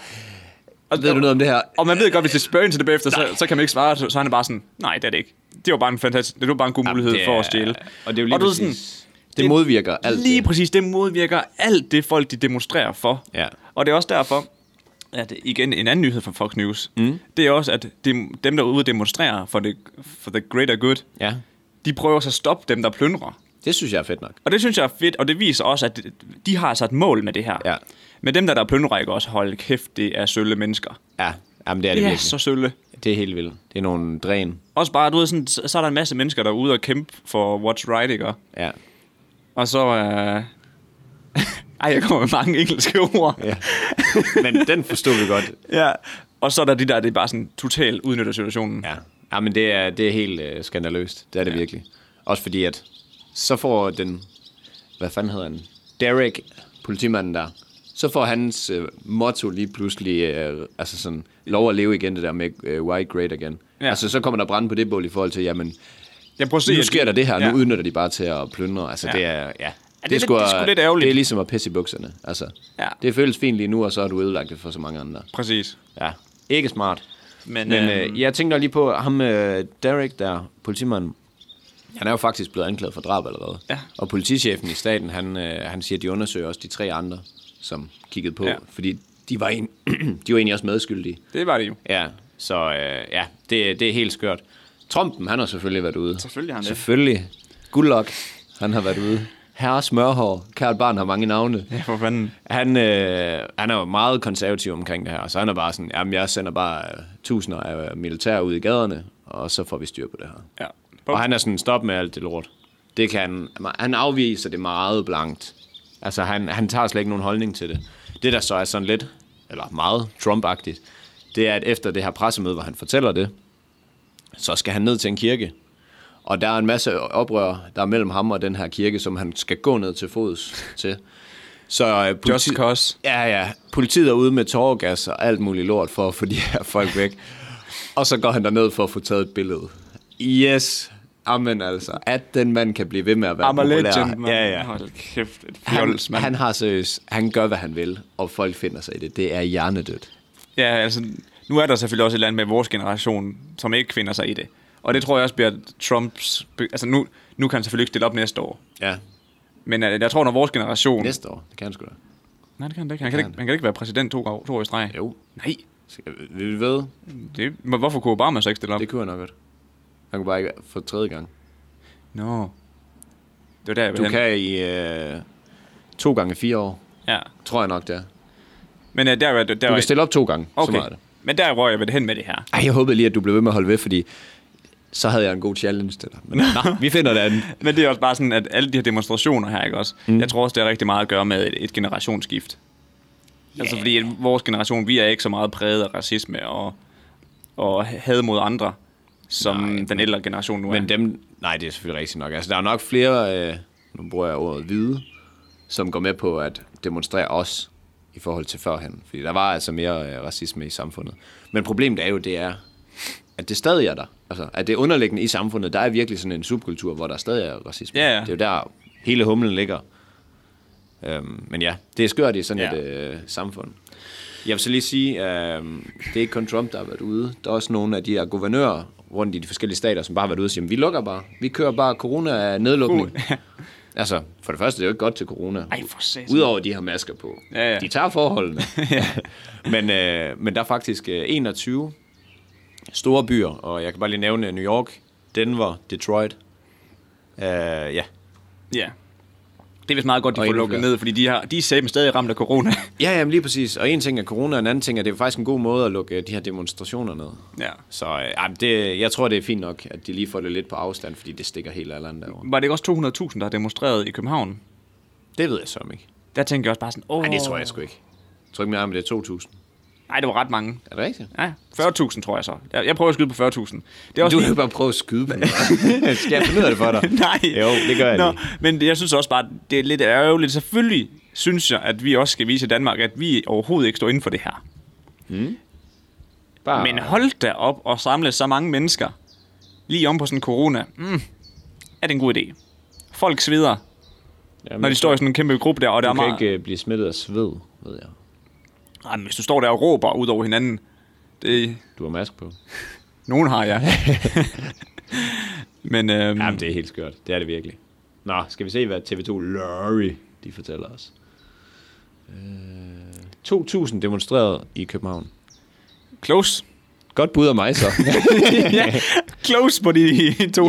S2: Og,
S1: Ved du noget om det her?
S2: Og man ved godt, hvis
S1: Øh,
S2: det spørger ind til det bagefter, så, så kan man ikke svare, så, så han er bare sådan, nej, det er det ikke. Det var bare en fantastisk, det var bare en god
S1: Jamen,
S2: mulighed
S1: det
S2: for
S1: er-
S2: at stjæle.
S1: og det er jo lige
S2: du ved
S1: præcis- det modvirker alt
S2: Lige
S1: det.
S2: præcis, det modvirker alt det, folk de demonstrerer for.
S1: Ja.
S2: Og det er også derfor, at igen en anden nyhed fra Fox News, mm. det er også, at dem, dem der er ude og demonstrerer for, det, for the greater good,
S1: Ja.
S2: de prøver så at stoppe dem, der plyndrer.
S1: Det synes jeg er fedt nok.
S2: Og det synes jeg er fedt, og det viser også, at de har altså et mål med det her.
S1: Ja.
S2: Men dem der, der plyndrer, ikke også holde kæft, det er sølle mennesker.
S1: Ja, Jamen, det er det
S2: Det er
S1: virkelig.
S2: så sølle.
S1: Det er helt vildt. Det er nogle dræn.
S2: Også bare, du ved, sådan, så så er der en masse mennesker, der er ude og kæmpe for what's right, ikke?
S1: Ja.
S2: Og så... Øh... Ej, jeg kommer med mange engelske ord.
S1: ja. Men den forstod vi godt.
S2: ja. Og så er der de der, det er bare sådan totalt udnytter situationen.
S1: Ja, ja men det er, det er helt øh, skandaløst. Det er det ja. virkelig. Også fordi, at så får den... Hvad fanden hedder han? Derek, politimanden der. Så får hans øh, motto lige pludselig øh, altså sådan, lov at leve igen, det der med øh, why great again.
S2: Ja.
S1: Ja. Altså, så kommer der brand på det bål i forhold til, jamen,
S2: Jeg prøver at se,
S1: nu
S2: at-
S1: sker der det her,
S2: ja.
S1: nu udnytter de bare til at plyndre. Altså, ja.
S2: Ja.
S1: det er... Ja.
S2: det er lidt- det er sgu lidt ærgerligt.
S1: Det er ligesom at pisse i bukserne. Altså,
S2: Ja.
S1: ja. Det føles fint lige nu, og så har du ødelagt det for så mange andre.
S2: Præcis.
S1: Ja, ikke smart.
S2: Men,
S1: Men, Men
S2: øhm,
S1: øh, jeg tænkte lige på ham, øh, Derek der, politimanden. Han er jo faktisk blevet anklaget for drab allerede.
S2: Ja.
S1: Og politichefen i staten, han, øh, han siger, at de undersøger også de tre andre, som kiggede på.
S2: Ja.
S1: Ja. Fordi de var, en, de var egentlig også medskyldige.
S2: Det var det jo.
S1: Ja, så øh, ja, det, det er helt skørt. Trumpen, han har selvfølgelig været ude.
S2: Selvfølgelig har han det.
S1: Selvfølgelig. Good luck. Han har været ude. Herre Smørhår. Kært barn har mange navne.
S2: Ja, for fanden.
S1: Han, øh, han er jo meget konservativ omkring det her, så han er bare sådan, jamen jeg sender bare øh, tusinder af militær ud i gaderne, og så får vi styr på det her.
S2: Ja.
S1: Og han er sådan, stop med alt det lort. Det kan han, han afviser det meget blankt. Altså han, han tager slet ikke nogen holdning til det. Det der så er sådan lidt, eller meget trump det er, at efter det her pressemøde, hvor han fortæller det, så skal han ned til en kirke. Og der er en masse oprør, der er mellem ham og den her kirke, som han skal gå ned til fods til. Så øh, politi-
S2: Just cause.
S1: Ja, ja. Politiet er ude med tårgas og alt muligt lort for at få de her folk væk. og så går han derned for at få taget et billede. Yes. Amen altså. At den mand kan blive ved med at være
S2: I'm a
S1: populær.
S2: legend, man.
S1: Ja, ja.
S2: Hold kæft, et
S1: Han,
S2: fjols, mand.
S1: han har seriøst, han gør, hvad han vil, og folk finder sig i det. Det er hjernedødt.
S2: Ja, altså, nu er der selvfølgelig også et eller andet med vores generation, som ikke finder sig i det. Og det tror jeg også bliver Trumps... be- Altså, nu, nu kan han selvfølgelig ikke stille op næste år.
S1: Ja.
S2: Men øh, jeg tror, når vores generation...
S1: Næste år, det kan han sgu da.
S2: Nej, det kan han da ikke. Han kan, ikke, han kan ikke være præsident to, år- to år i streg.
S1: Jo.
S2: Nej.
S1: Vi ved,
S2: Det, men hvorfor kunne Obama så ikke stille op?
S1: det kunne han nok godt. Han kunne bare ikke for tredje gang.
S2: Nå. Det var der, jeg ville
S1: Du
S2: hen.
S1: kan i øh, to gange fire år,
S2: Ja.
S1: tror jeg nok det er.
S2: Men øh, der, var- der, der
S1: Du
S2: var...
S1: kan stille op to gange, så meget er
S2: okay.
S1: det.
S2: Men der, hvor jeg ville hen med det her.
S1: Ej, jeg håbede lige, at du blev ved med at holde ved, fordi så havde jeg en god challenge til dig. Men nej, vi finder det andet.
S2: Men det er også bare sådan, at alle de her demonstrationer her, ikke også? Mm. Jeg tror også, det har rigtig meget at gøre med et, et generationsskift. Yeah. Altså fordi at vores generation, vi er ikke så meget præget af racisme og, og had mod andre, som Nej, den ældre generation nu er.
S1: Men dem, nej, det er selvfølgelig rigtigt nok. Altså, der er nok flere, øh, nu bruger jeg ordet hvide, som går med på at demonstrere os i forhold til førhen. Fordi der var altså mere øh, racisme i samfundet. Men problemet er jo, det er, at det stadig er der. Altså, at det underliggende i samfundet, der er virkelig sådan en subkultur, hvor der stadig er racisme.
S2: Ja, ja.
S1: Det er jo der, hele humlen ligger. Øhm, men ja, det er skørt i sådan
S2: Ja.
S1: ja. et øh, samfund. Jeg vil så lige sige, øh, det er ikke kun Trump, der har været ude. Der er også nogle af de her guvernører rundt i de forskellige stater, som bare har været ude og sige, vi lukker bare. Vi kører bare corona er nedlukning.
S2: Uh.
S1: altså, for det første, det er jo ikke godt til corona.
S2: Ej, for satan.
S1: Udover de har masker på.
S2: Ja, ja.
S1: De tager forholdene. men, øh, men der er faktisk øh, 21 store byer, og jeg kan bare lige nævne New York, Denver, Detroit,
S3: Uh, ja.
S2: Ja. Det er vist meget godt, de
S1: Og
S2: får
S1: endnu
S2: lukket
S1: flere.
S2: ned, fordi de, har, de er sæben stadig ramt af corona.
S1: Ja, jamen lige præcis. Og en ting er corona, og en anden ting er, det er faktisk en god måde at lukke øh, de her demonstrationer ned.
S2: ja.
S1: Så øh, jamen, det, jeg tror, det er fint nok, at de lige får det lidt på afstand, fordi det stikker helt alle andre derovre.
S2: Var det ikke også 200.000, der har demonstreret i København?
S1: Det ved jeg så ikke.
S2: Der tænkte jeg også bare sådan, åh...
S1: Nej, det tror jeg sgu ikke. Jeg tror ikke mere om, det er 2.000.
S2: Nej, det var ret mange.
S1: Er det rigtigt?
S2: Ja, 40.000 tror jeg så. Jeg, jeg prøver at skyde på 40.000. Det er
S1: Du kan
S2: lige-
S1: jo bare prøve at skyde på mig. Skal jeg finde ud af det for dig?
S2: Nej.
S1: Jo, det gør jeg
S2: Nå,
S1: lige.
S2: men jeg synes også bare, det er lidt ærgerligt. Selvfølgelig synes jeg, at vi også skal vise Danmark, at vi overhovedet ikke står inden for det her.
S1: Bare...
S2: Men hold da op og samle så mange mennesker lige om på sådan en corona. Mm, er det en god idé? Folk sveder,
S1: Jamen,
S2: når de står i sådan en kæmpe gruppe der, og der
S1: Du
S2: er
S1: kan
S2: meget...
S1: ikke øh, blive smittet af sved, ved jeg.
S2: Ej, men hvis du står der og råber ud over hinanden, det...
S1: Du har mask på.
S2: Nogen har jeg. men øhm,
S1: Jamen, det er helt skørt. Det er det virkelig. Nå, skal vi se, hvad TV2 Lorry, de fortæller os. Øh, 2.000 demonstrerede i København.
S2: close.
S1: Godt bud af mig så.
S2: Close på de 200.000.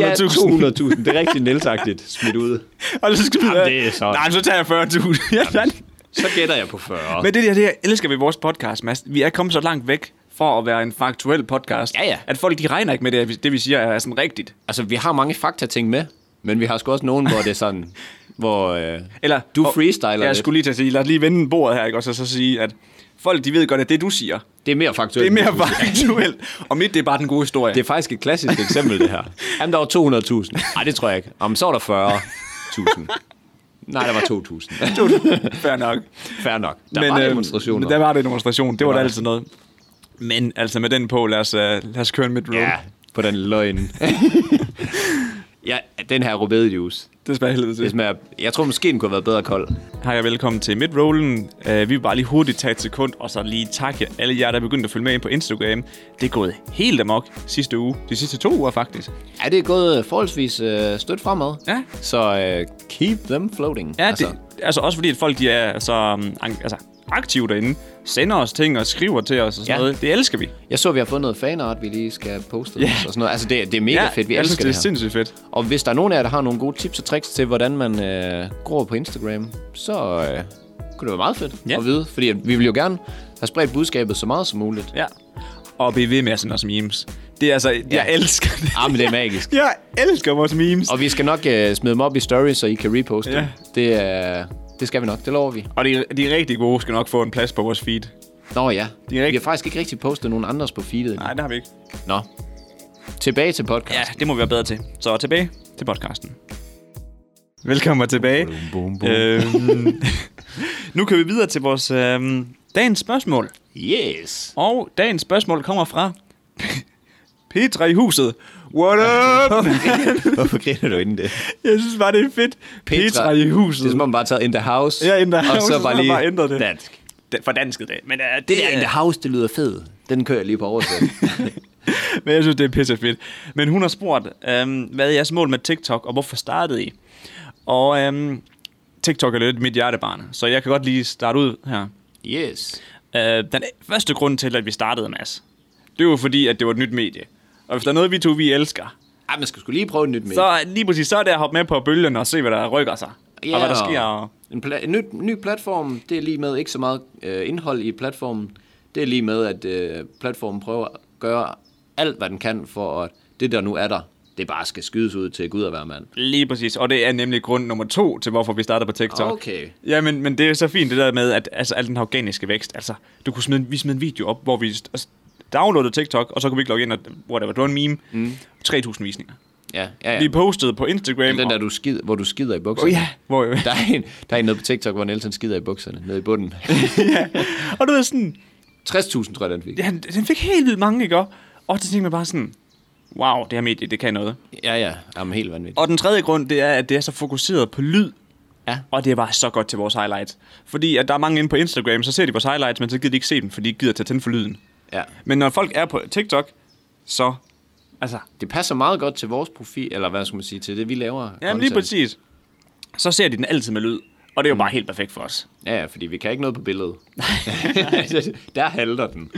S1: ja, 200.000. Det er rigtig nilsagtigt smidt ud.
S2: Og så skal du
S1: Jamen, det er så-
S2: Nej, men så tager jeg 40.000. Ja,
S1: Så gætter jeg på 40.
S2: men det der, det her elsker vi i vores podcast, Mads. Vi er kommet så langt væk for at være en faktuel podcast.
S1: Ja, ja.
S2: At folk, de regner ikke med det, det vi siger er sådan rigtigt.
S1: altså, vi har mange faktating med, men vi har sgu også nogen, hvor det er sådan, hvor... Øh,
S2: Eller,
S1: Du
S2: og-
S1: freestyler
S2: Jeg
S1: lidt.
S2: skulle lige til at sige, lad os lige vende bordet her, ikke? Og så, så sige, at folk, de ved godt, at det du siger,
S1: det er mere faktuelt.
S2: det er mere
S1: end du siger.
S2: faktuelt. Og mit, det er bare den gode historie.
S1: Det er faktisk et klassisk eksempel, det her. Jamen, der var 200.000. Nej, det tror jeg ikke. Jamen, så var der 40.000. Nej, der var 2.000.
S2: fair nok.
S1: Fair nok. Der men, var
S2: øhm,
S1: demonstrationer.
S2: Der var det en demonstration. Det,
S1: var
S2: var der
S1: der.
S2: altid noget. Men altså med den på, lad os, uh, lad os køre en midroll.
S1: Ja, på den løgn. ja, den her rødbedejuice.
S2: Det smager helvede
S1: Det
S2: til.
S1: smager, jeg tror måske, den kunne have været bedre kold.
S2: Hej og velkommen til midrollen. Uh, vi vil bare lige hurtigt tage et sekund, og så lige takke alle jer, der er begyndt at følge med ind på Instagram. Det er gået helt amok sidste uge. De sidste to uger faktisk.
S1: Ja, det er gået forholdsvis øh, stødt fremad.
S2: Ja.
S1: Så øh, keep them floating.
S2: Ja, altså, det, altså også fordi, at folk de er så um, ang- altså, aktive derinde. Sender os ting og skriver til os og sådan
S1: Ja.
S2: noget. Det elsker vi.
S1: Jeg så, at vi har fået noget fanart, vi lige skal poste yeah.
S2: Ja.
S1: og sådan noget. Altså, det, det er mega fedt. Vi
S2: jeg
S1: elsker
S2: synes, det er
S1: det, her.
S2: sindssygt fedt.
S1: Og hvis der er nogen af jer, der har nogle gode tips og tricks til, hvordan man øh, gror på Instagram, så øh, kunne det være meget fedt
S2: Ja.
S1: at vide. Fordi at vi vil jo gerne have spredt budskabet så meget som muligt.
S2: Ja. Og blive ved med at sende os memes. Det er altså, jeg elsker det.
S1: Ah, men det er magisk.
S2: Jeg elsker vores memes. Og,
S1: Og vi skal nok øh, smide dem op i story, så I kan reposte
S2: Ja.
S1: ja. det, øh, det skal vi nok, det lover vi.
S2: og de, de rigtig gode skal nok få en plads på vores feed.
S1: Nå ja,
S2: Det er rigtigt.
S1: vi har faktisk ikke rigtig postet nogen andres på feedet.
S2: Nej, det har vi ikke.
S1: Nå, tilbage til podcast.
S2: Ja, det må vi være bedre til. Så tilbage til podcasten. Velkommen tilbage.
S1: Boom,
S2: Øhm, nu kan vi videre til vores øhm, dagens spørgsmål.
S1: Yes.
S2: Og dagens spørgsmål kommer fra Petra i huset. What up?
S1: Hvorfor griner du inden det?
S2: Jeg synes bare, det er fedt. Petra, Petra i
S1: Det er som
S2: huset.
S1: om man bare har taget in the house.
S2: Ja, in the house,
S1: Og så
S2: så har
S1: bare
S2: man
S1: lige
S2: bare ændret det.
S1: Dansk.
S2: Det, for dansket det. Men, uh, det,
S1: Det der in the house, det lyder fedt. Den kører jeg lige på oversæt.
S2: Men jeg synes, det er pisse fedt. Men hun har spurgt, øhm, hvad er jeres mål med TikTok, og hvorfor startede I? Og øhm, TikTok er lidt mit hjertebarn, så jeg kan godt lige starte ud her.
S1: yes.
S2: Øh, den første grund til, at vi startede, Mads, det var fordi, at det var et nyt medie. Og hvis der er noget, vi to vi elsker,
S1: Ej, man skal sgu lige prøve et nyt med.
S2: så lige præcis så er det at hoppe med på bølgen og se, hvad der rykker sig.
S1: Ja,
S2: og hvad der
S1: og-
S2: sker. Og...
S1: En, pla- en ny, ny platform, det er lige med ikke så meget øh, indhold i platformen. Det er lige med, at øh, platformen prøver at gøre alt, hvad den kan for, at det, der nu er der, det bare skal skydes ud til Gud og hver mand.
S2: Lige præcis, og det er nemlig grund nummer to til, hvorfor vi starter på TikTok.
S1: Okay.
S2: Ja, men, men det er så fint det der med, at altså, al den her organiske vækst, altså, du kunne smide, en- vi smed en video op, hvor vi altså, downloadede TikTok, og så kunne vi ikke logge ind, og whatever, det var en meme, mm. 3.000 visninger.
S1: Ja, ja,
S2: Ja.
S1: ja.
S2: Vi postede på Instagram,
S1: den der,
S2: og,
S1: du skid, hvor du skider i bukserne.
S2: oh, ja, hvor,
S1: Der er, en, der er en nede på TikTok, hvor Nelson skider i bukserne, nede i bunden.
S2: og du ved sådan,
S1: 60.000, tror jeg, den fik.
S2: ja, den fik helt vildt mange, ikke? Og så tænkte man bare sådan, wow, det her medie, det kan noget.
S1: Ja, ja. Jamen, helt vanvittigt.
S2: Og den tredje grund, det er, at det er så fokuseret på lyd.
S1: Ja.
S2: Og det er bare så godt til vores highlights. Fordi at der er mange inde på Instagram, så ser de vores highlights, men så gider de ikke se dem, fordi de gider tage tænde for lyden.
S1: Ja.
S2: Men når folk er på TikTok, så... Altså,
S1: Det passer meget godt til vores profil, eller hvad skal man sige, til det, vi laver.
S2: ja, lige
S1: content. Mm.
S2: præcis. Så ser de den altid med lyd. Og det er jo bare helt perfekt for os.
S1: Ja, ja, fordi vi kan ikke noget på billedet. der halter den.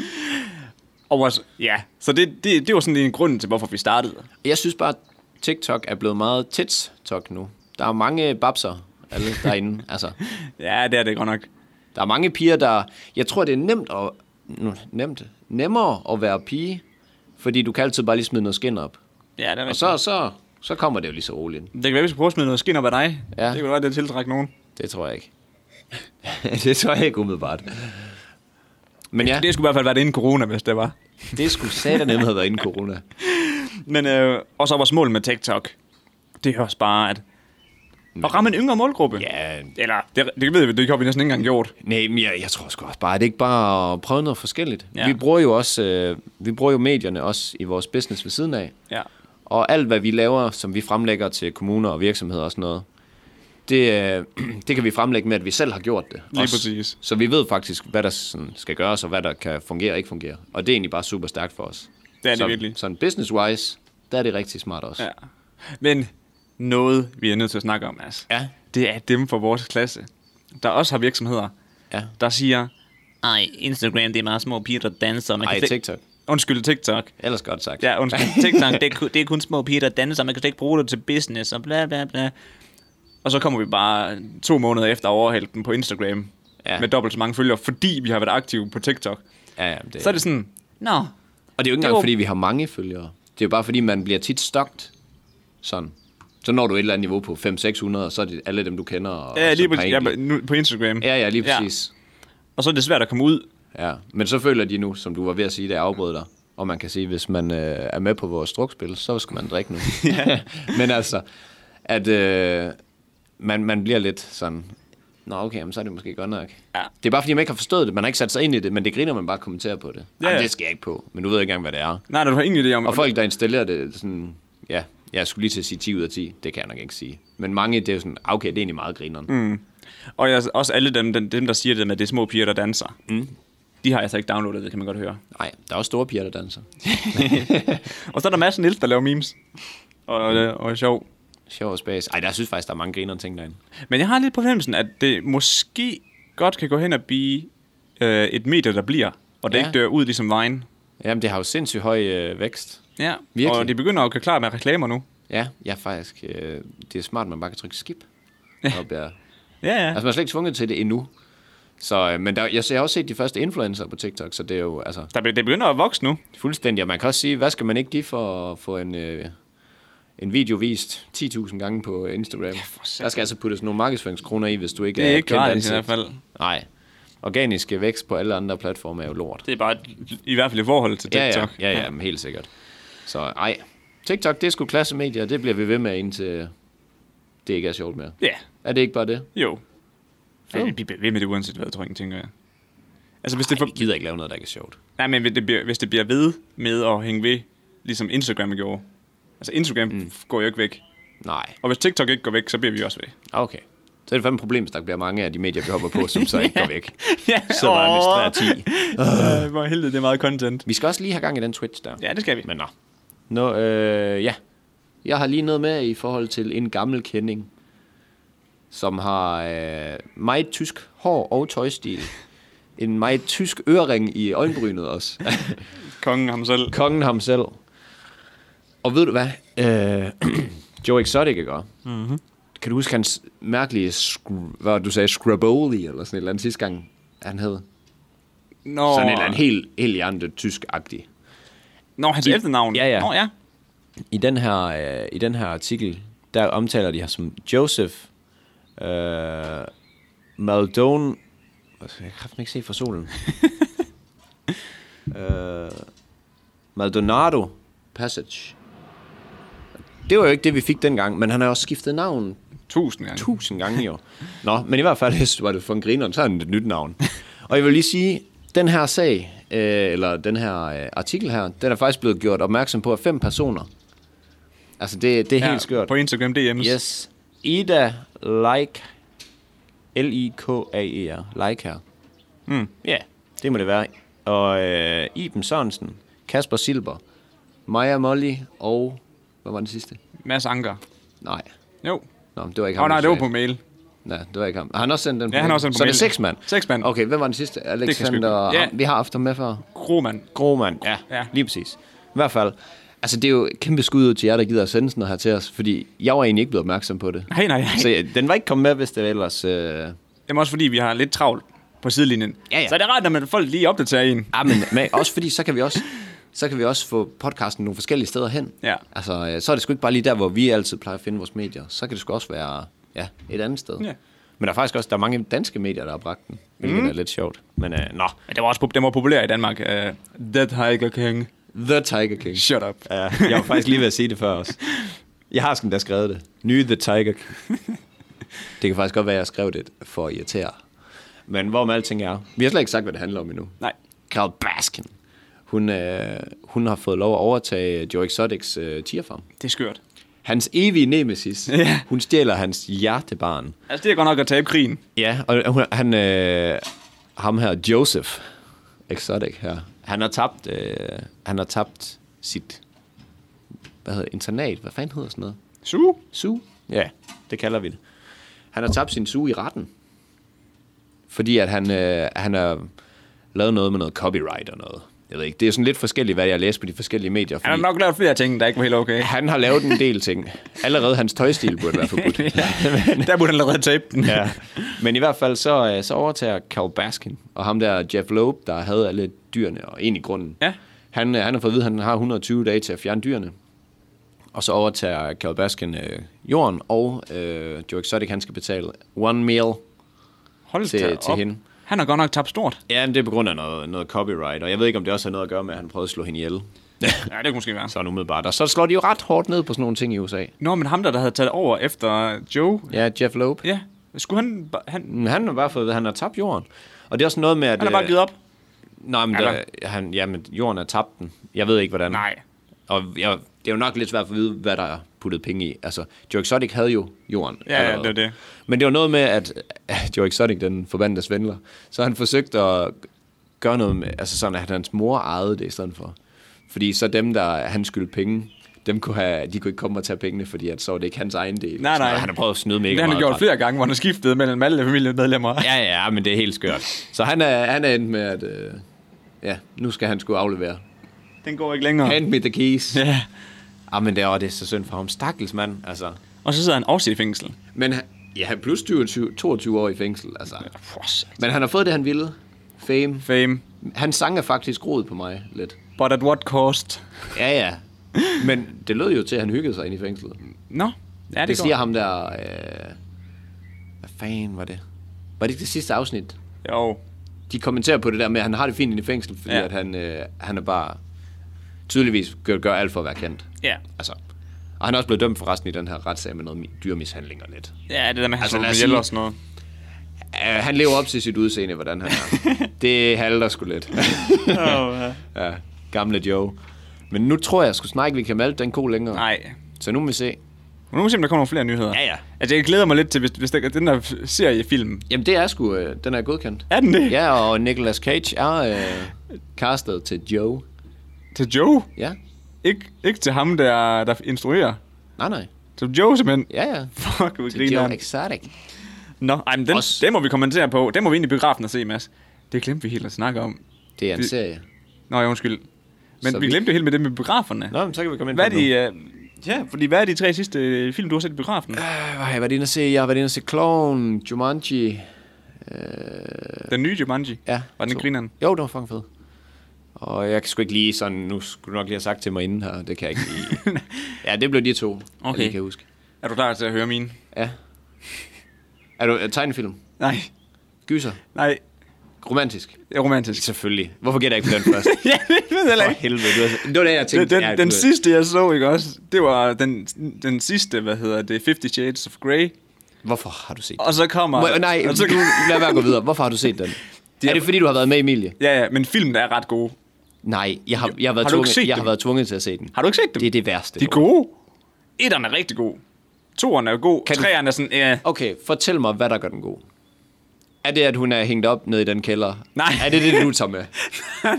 S2: Og vores, ja, så det, det, det var sådan lige en grund til, hvorfor vi startede.
S1: Jeg synes bare, TikTok er blevet meget tits-tok nu. Der er mange babser alle derinde. altså,
S2: Ja, det er det godt nok.
S1: der er mange piger, der... Jeg tror, det er nemt at, nu- nemt, nemmere at være pige, fordi du kan altid bare lige smide noget skin op.
S2: Ja, det er
S1: Og
S2: rigtigt.
S1: så, så, så kommer det jo lige så roligt.
S2: Det kan være, vi skal prøve at smide noget skin op af dig.
S1: Ja.
S2: Det kan være, det tiltrækker nogen.
S1: Det tror jeg ikke. det tror jeg ikke umiddelbart. Men ja,
S2: Det skulle i hvert fald være det inden corona, hvis det var.
S1: det skulle satanemme have været inden corona.
S2: Men, øh, og så vores mål med TikTok, det er også bare at, at ramme en yngre målgruppe.
S1: Ja,
S2: Eller, det, det ved vi, det har vi næsten ikke engang gjort.
S1: Nej, men jeg, jeg tror sgu også bare, at det ikke bare at prøve noget forskelligt.
S2: Ja.
S1: Ja. Vi bruger jo også, øh, vi bruger jo medierne også i vores business ved siden af.
S2: Ja.
S1: Og alt, hvad vi laver, som vi fremlægger til kommuner og virksomheder og sådan noget, det, øh, det kan vi fremlægge med, at vi selv har gjort det.
S2: Lige præcis.
S1: Så vi ved faktisk, hvad der sådan skal gøres, og hvad der kan fungere og ikke fungere. Og det er egentlig bare super stærkt for os.
S2: Det er det
S1: så,
S2: virkelig.
S1: Sådan business-wise, der er det rigtig smart også.
S2: ja. Men noget, vi er nødt til at snakke om, altså,
S1: Ja.
S2: det er dem fra vores klasse, der også har virksomheder,
S1: Ja.
S2: der siger,
S3: Ej, Instagram, det er meget små piger, der danser. Man
S1: Ej,
S3: kan slet-
S1: TikTok.
S2: undskyld TikTok.
S1: Ellers godt sagt.
S2: Ja, undskyld.
S3: TikTok, det er, ku- det er kun små piger, der danser. Man kan slet ikke bruge det til business og bla bla bla.
S2: Og så kommer vi bare to måneder efter og overhælder den på Instagram. Ja.
S1: Ja.
S2: Med dobbelt så mange følgere, fordi vi har været aktive på TikTok.
S1: ja, ja det,
S2: Så er det sådan,
S3: Nå,
S1: Og det er jo ikke
S2: Det
S1: engang,
S2: var-
S1: fordi vi har mange følgere. Det er jo bare, fordi man bliver tit stokt. Sådan. Så når du et eller andet niveau på 500-600, og så er det alle dem, du kender. Og
S2: ja, lige
S1: som
S2: præcis,
S1: har
S2: ja,
S1: egentlig-
S2: men nu, på Instagram.
S1: ja, ja, lige præcis.
S2: Og så er det svært at komme ud.
S1: Ja. ja. Men så føler de nu, som du var ved at sige, da jeg afbrød dig. Og man kan sige, hvis man øh, er med på vores drukspil, så skal man drikke nu. men altså, at øh, man, man bliver lidt sådan, Nå okay, jamen, så er det måske godt nok.
S2: Ja.
S1: Det er bare fordi, man ikke har forstået det. Man har ikke sat sig ind i det, men det griner man bare kommenterer på det.
S2: Ja,
S1: Ja, Jamen,
S2: ja.
S1: det skal jeg ikke på, men du ved ikke engang, hvad det er.
S2: Nej, du har ingen idé om...
S1: Og folk, der installerer det, sådan, ja, jeg skulle lige til at sige 10 ud af 10, det kan jeg nok ikke sige. Men mange, det er jo sådan, ah, okay, det er egentlig meget grineren. Mm.
S2: Og jeg, også alle dem, dem, dem, der siger det med, at det er små piger, der danser. Mm. De har jeg så ikke downloadet, det kan man godt høre.
S1: Nej, der er også store piger, der danser.
S2: Og så er der masser Niels, der laver memes. Og, og, øh, og er sjov.
S1: Sjov og spas. Ej, der synes faktisk, der er mange grinerne ting derinde.
S2: Men jeg har lidt på fornemmelsen, at det måske godt kan gå hen og blive øh, et medie, der bliver. Og det ja.
S1: Ja.
S2: ikke dør ud ligesom vejen.
S1: Jamen, det har jo sindssygt høj øh, vækst.
S2: Ja,
S1: Virkelig.
S2: Og de begynder at gøre klar med reklamer nu.
S1: Ja, jeg er faktisk, øh, det er smart, man bare kan trykke skip. Op, ja.
S2: Ja, ja.
S1: Altså, man er slet ikke tvunget til det endnu. Så, øh, men der, jeg, jeg har også set de første influencer på TikTok, så det er jo altså,
S2: Der, be- det begynder at vokse nu.
S1: fuldstændig. Og man kan også sige, hvad skal man ikke give for at få en, øh, en video vist 10.000 gange på Instagram?
S2: satan.
S1: der skal altså puttes nogle markedsføringskroner i, hvis du ikke
S2: Det er
S1: et
S2: ikke
S1: kendt
S2: gratis
S1: ansigt.
S2: i hvert fald.
S1: Nej. Organisk vækst på alle andre platforme er jo lort.
S2: Det er bare i hvert fald i forhold til
S1: Ja, ja,
S2: TikTok.
S1: ja, ja, men helt sikkert. Så ej, TikTok, det er sgu klassemedier, og det bliver vi ved med, indtil det ikke er sjovt mere.
S2: ja.
S1: Er det ikke bare det?
S2: Jo. Ja, vi bliver ved med det uanset hvad, tror jeg, tænker jeg. Altså, hvis det, for...
S1: Jeg gider ikke lave noget, der ikke er sjovt.
S2: Nej, men hvis det, bliver, hvis det bliver ved med at hænge ved, ligesom Instagram gjorde. Altså, Instagram mm. går jo ikke væk.
S1: Nej,
S2: Og hvis TikTok ikke går væk, så bliver vi også ved.
S1: okay. Så er det fandme et problem, hvis der bliver mange af de medier, vi hopper på, som så ikke går væk.
S2: ja,
S1: Så bare administrerer 10.
S2: Øh, hvor heldigt, det er meget content.
S1: Vi skal også lige have gang i den Twitch der.
S2: Ja, det skal vi.
S1: Men nå. Nå, øh, ja. Jeg har lige noget med i forhold til en gammel kending, som har øh, meget tysk hår og tøjstil. En meget tysk ørering i øjenbrynet også.
S2: Kongen ham selv.
S1: Kongen ham selv. Og ved du hvad? Øh, Joe Exotic, ikke mm-hmm. Kan du huske hans mærkelige, skr- hvad var det, du sagde, Scraboli eller sådan et eller andet sidste gang, han hed?
S2: Nå,
S1: Sådan et eller andet helt, helt andet tysk-agtigt.
S2: Nå hans efternavn.
S1: Ja, ja.
S2: Nå, ja.
S1: I den her, øh, i den her artikel, der omtaler de her som Joseph øh, Maldon... Jeg kan kraften ikke se fra solen. øh, Maldonado Passage. Det var jo ikke det, vi fik dengang, men han har jo også skiftet navn
S2: Tusind gange.
S1: tusind gange jo. Nå, men i hvert fald, hvis var det for en griner, så er det et nyt navn. Og jeg vil lige sige, den her sag, øh, eller den her øh, artikel her, den er faktisk blevet gjort opmærksom på af fem personer. Altså, det, det er helt
S2: Ja,
S1: skørt.
S2: På Instagram DM's.
S1: Yes. Ida Like. L-I-K-A-E-R. Like E her. Mm. Ja, yeah, det må det være. Og øh, Iben Sørensen, Kasper Silber, Maja Molly og... Hvad var den sidste?
S2: Mads Anker.
S1: Nej.
S2: Jo.
S1: Nå, men det var ikke
S2: Åh,
S1: ham.
S2: oh, nej,
S1: jeg
S2: det var
S1: sagde.
S2: på mail.
S1: Nej, det var ikke ham. Har han også sendt den på
S2: Ja, han har også sendt den på
S1: Så er det
S2: mail.
S1: seks mand?
S2: Seks mand.
S1: Okay, hvem var den sidste?
S2: jeg sgu ikke.
S1: Alexander...
S2: Ja.
S1: Ja. Vi har haft ham med før.
S2: Groman.
S1: Groman, ja,
S2: Ja.
S1: ja, lige præcis. I hvert fald, Altså, det er jo et kæmpe skud ud til jer, der gider at sende sådan noget her til os, fordi jeg var egentlig ikke blevet opmærksom på det.
S2: Nej, nej, nej.
S1: Så ja, den var ikke kommet med, hvis det ellers... Øh...
S2: Jamen også fordi, vi har lidt travlt på sidelinjen.
S1: Ja, ja.
S2: Så er det rart, når man folk lige opdaterer en.
S1: Ah, men, men også fordi, så kan vi også så kan vi også få podcasten nogle forskellige steder hen.
S2: Ja.
S1: Altså, øh, så er det sgu ikke bare lige der, hvor vi altid plejer at finde vores medier. Så kan det sgu også være ja, et andet sted.
S2: Ja. Mhm.
S1: Men der er faktisk også der er mange danske medier, der har bragt den, hvilket mm. er lidt sjovt. Men øh, nå,
S2: Men det var også pop- den var populær i Danmark. Uh, The Tiger King.
S1: The Tiger King.
S2: Shut up.
S1: Ja, jeg var faktisk lige ved at sige det før også. Jeg har sådan der skrevet det. Nye The Tiger King. Det kan faktisk godt være, at jeg skrev det for at irritere. Men hvorom alting er. Vi har slet ikke sagt, hvad det handler om endnu.
S2: Nej.
S1: Carol Baskin. Hun, øh, hun har fået lov at overtage Joe Exotics øh, tierfarm.
S2: Det er skørt.
S1: Hans evige nemesis.
S2: Ja.
S1: Hun stjæler hans hjertebarn.
S2: Altså, det er godt nok at tabe krigen.
S1: Ja, og hun, han, øh, ham her, Joseph Exotic her, han har tabt, øh, han har tabt sit, hvad hedder det, internat, hvad fanden hedder sådan noget?
S2: Su.
S1: Su? Ja, det kalder vi det. Han har tabt sin su i retten, fordi at han, øh, han har lavet noget med noget copyright og noget. Jeg ved ikke, det er sådan lidt forskelligt, hvad jeg læser på de forskellige medier.
S2: Han har
S1: Fordi
S2: nok lavet flere ting, der ikke var helt okay.
S1: han har lavet en del ting. Allerede hans tøjstil burde være forbudt.
S2: Der burde han allerede tabe den.
S1: ja. Men i hvert fald, så, øh, så overtager Carl Baskin, og ham der Jeff Loeb, der havde alle dyrene, og egentlig grunden.
S2: Ja.
S1: Han, øh, han har fået at vide, at han har 120 dage til at fjerne dyrene. Og så overtager Carl Baskin øh, jorden, og øh, Joe Exotic, han skal betale one meal.
S2: Hold
S1: Til-
S2: da
S1: til
S2: op.
S1: hende.
S2: Han har godt nok tabt stort.
S1: Ja, men det er på grund af noget, noget copyright, og jeg ved ikke, om det også har noget at gøre med, at han prøvede at slå hende ihjel.
S2: Ja, det kunne måske være.
S1: Sådan umiddelbart. Og så slår de jo ret hårdt ned på sådan nogle ting i USA.
S2: Nå, men ham der, der havde taget over efter Joe.
S1: Ja, Jeff Loeb.
S2: Ja, skulle han... ba- Han,
S1: Men Han har bare fået, at han har tabt jorden. Og det er også noget med, at...
S2: han har bare
S1: øh,
S2: givet op.
S1: Nej, men,
S2: Eller?
S1: der, han, jamen, jorden er tabt den. Jeg ved ikke, hvordan.
S2: Nej.
S1: Og jeg, det er jo nok lidt svært at vide, hvad der er puttet penge i. Altså, Joe Exotic havde jo jorden.
S2: Ja, ja,
S1: allerede.
S2: det er det.
S1: Men det var noget med, at at Joe Exotic, den forbandede svindler, så han forsøgte at gøre noget med, altså sådan, at hans mor ejede det i stedet for. Fordi så dem, der han skyldte penge, dem kunne have, de kunne ikke komme og tage pengene, fordi at så var det ikke hans egen del.
S2: Nej,
S1: Sådan,
S2: nej.
S1: og Han har prøvet at snyde mega
S2: Det har
S1: meget.
S2: han gjort
S1: fra-
S2: flere gange, hvor han har skiftet mellem alle familiemedlemmer.
S1: Ja, ja, men det er helt skørt. Så han er, han er endt med, at øh, ja, nu skal han skulle aflevere
S2: Den går ikke længere.
S1: Hand me the keys.
S2: Ja.
S1: Ah, men det er, og det er så synd for ham. Stakkels mand, altså.
S2: Og så sidder han også i fængsel.
S1: Men han- ja, han er plus 22, 22 år i fængsel, altså.
S2: For satan.
S1: Men han har fået det, han ville. Fame.
S2: Fame.
S1: Han sang er faktisk groet på mig lidt.
S2: But at what cost?
S1: Ja, ja. Men det lød jo til, at han hyggede sig ind i fængslet.
S2: Nå, ja, det,
S1: det siger
S2: går.
S1: ham der... Øh... Hvad fanden var det? Var det ikke det sidste afsnit?
S2: Jo,
S1: De kommenterer på det der med, at han har det fint inde i fængsel, fordi
S2: Ja.
S1: ja. at han, øh, han er bare tydeligvis gør, gør alt for at være kendt.
S2: ja.
S1: Altså. Og han er også blevet dømt for resten i den her retssag med noget mi- dyremishandling og lidt.
S2: Ja, det der med, at han
S1: Altså,
S2: altså,
S1: lad os
S2: ihjel
S1: sige-
S2: og sådan noget.
S1: Uh, han lever op til sit udseende, hvordan han er. det halter sgu lidt. ja, gamle Joe. Men nu tror jeg sgu snart ikke, vi kan malte den ko længere.
S2: Nej.
S1: Så nu må vi se.
S2: Men nu må vi se, om der kommer nogle flere nyheder.
S1: Ja, ja.
S2: Altså, jeg glæder mig lidt til, hvis, hvis der, den der f- seriefilm.
S1: Jamen det er sgu, øh, den er godkendt.
S2: Er den det?
S1: Ja, og Nicolas Cage er øh, castet til Joe.
S2: Til Joe.
S1: Ja,
S2: Ikke, ikke til ham, der, der instruerer.
S1: nej nej.
S2: Til Joe, simpelthen.
S1: Ja, ja.
S2: Fuck, hvor
S1: Til Joe
S2: griner
S1: Exotic.
S2: Nå, ej, men den,
S1: Også-
S2: den må vi kommentere på. Den må vi ind i biografen og se, Mads. Det glemte vi helt at snakke om.
S1: Det er en
S2: Det-
S1: serie.
S2: Nå, ja, undskyld. Men
S1: Så
S2: vi
S1: vi-
S2: glemte jo helt med det med biograferne.
S1: Nå, men så kan vi komme ind
S2: Hvad er
S1: på det
S2: de,
S1: nu.
S2: øh, ja, fordi hvad er de tre sidste øh, film, du har set i biografen?
S1: Øh, hvad har jeg været inde at se? Jeg har været inde at se Clown, Jumanji.
S2: Den nye Jumanji.
S1: Ja.
S2: Var den
S1: to.
S2: grineren?
S1: Jo, det var fucking fed. Og jeg kan sgu ikke lige sådan, nu skulle du nok lige have sagt til mig inden her, det kan jeg ikke lige. ja, det blev de to, jeg
S2: Okay.
S1: lige kan huske.
S2: Er du klar til at høre mine?
S1: Ja. Er du er tegnefilm?
S2: Nej,
S1: Gyser?
S2: nej.
S1: Romantisk?
S2: Det er romantisk.
S1: Selvfølgelig. Hvorfor gætter jeg ikke på den først?
S2: ja, det ved jeg heller
S1: For
S2: ikke.
S1: helvede, du har, det var det, jeg
S2: Den,
S1: tænkte.
S2: den, den
S1: du-
S2: sidste, jeg så, ikke også? Det var den, den sidste, hvad hedder det, 50 Shades of Grey.
S1: Hvorfor har du set den?
S2: Og så kommer...
S1: Må, nej,
S2: og Altså, så,
S1: du, lad være at gå videre. Hvorfor har du set den? Det er, det fordi, du har været med Emilie?
S2: ja, ja, men filmen er ret god.
S1: Nej, jeg har, jeg har, været,
S2: Har du ikke
S1: tvunget,
S2: set
S1: jeg har
S2: dem?
S1: været tvunget til at se den.
S2: Har du ikke set dem?
S1: Det er det værste.
S2: De er gode. Etteren er rigtig god. Toeren er god.
S1: Kan du-
S2: Treeren er sådan, ja,
S1: Okay, fortæl mig, hvad der gør den god. Er det, at hun er hængt op nede i den kælder?
S2: Nej.
S1: Er det det, du tager med?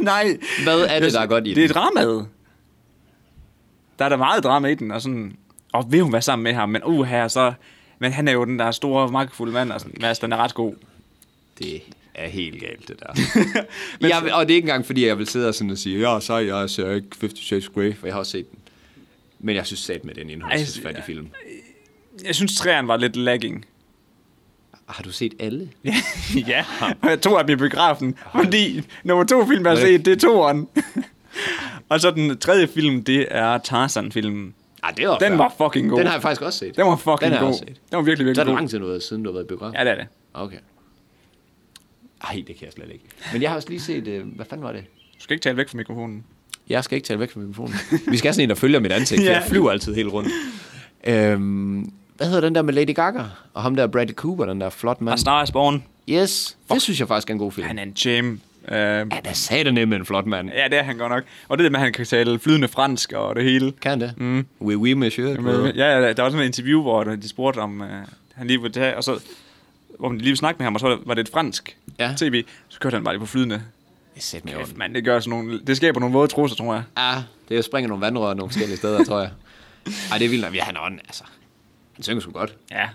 S2: nej.
S1: Hvad er det, der er godt i
S2: Det er
S1: den?
S2: dramaet. Der er der meget drama i den, og sådan... Og vil hun være sammen med ham, men uh, her så... Men han er jo den der store, magtfulde mand, og sådan, Mads, den er ret god.
S1: Det er helt galt, det der. jeg, og det er ikke engang, fordi jeg vil sidde og, sådan og sige, ja, så jeg ser ikke 50 Shades of Grey, for jeg har også set den. Men jeg synes sat med den indholdsfattig film.
S2: Jeg synes, træerne var lidt lagging.
S1: Har du set alle?
S2: ja, og jeg tog af dem i biografen, fordi nummer to film, jeg har set, det er toeren. og så den tredje film, det er Tarzan-filmen.
S1: Ah, det var
S2: Den var fucking god.
S1: Den har jeg faktisk også set.
S2: Den var fucking
S1: Den har jeg
S2: god.
S1: også set.
S2: Den var virkelig,
S1: Så er det
S2: virkelig god.
S1: lang tid nu, øh, siden du har været i biografen.
S2: Ja, det er det.
S1: Okay. Ej, det kan jeg slet ikke. Men jeg har også lige set, øh, hvad fanden var det?
S2: Du skal ikke tale væk fra mikrofonen.
S1: Jeg skal ikke tale væk fra mikrofonen. Vi skal have sådan en, der følger mit ansigt. ja.
S2: Ja.
S1: Jeg flyver altid helt rundt. Øhm, hvad hedder den der med Lady Gaga? Og ham der Bradley Cooper, den der flot
S2: Og
S1: mand.
S2: Star is Born,
S1: Yes, det synes jeg faktisk er en god film.
S2: han er en jam. Uh,
S1: Ja, der sagde det nemlig en flot mand.
S2: ja, det er han godt nok. Og det der med, at han kan tale flydende fransk og det hele.
S1: Kan han det? Mm. Oui, oui, monsieur.
S2: Men, ja, ja, der var sådan et interview, hvor de spurgte om, øh, han lige ville tage, og så, hvor man lige ville snakke med ham, og så var det et fransk
S1: Ja.
S2: ja. tv. Så kørte han bare lige på flydende.
S1: Sæt mig i
S2: Kæft,
S1: orden.
S2: mand, det gør sådan nogle, det skaber nogle våde trusser, tror jeg.
S1: Ja, det er springer nogle vandrør nogle forskellige steder, tror jeg. Ej, det er vildt. nok. Ja, han er ånden, altså. Han synger sgu godt.
S2: Ja.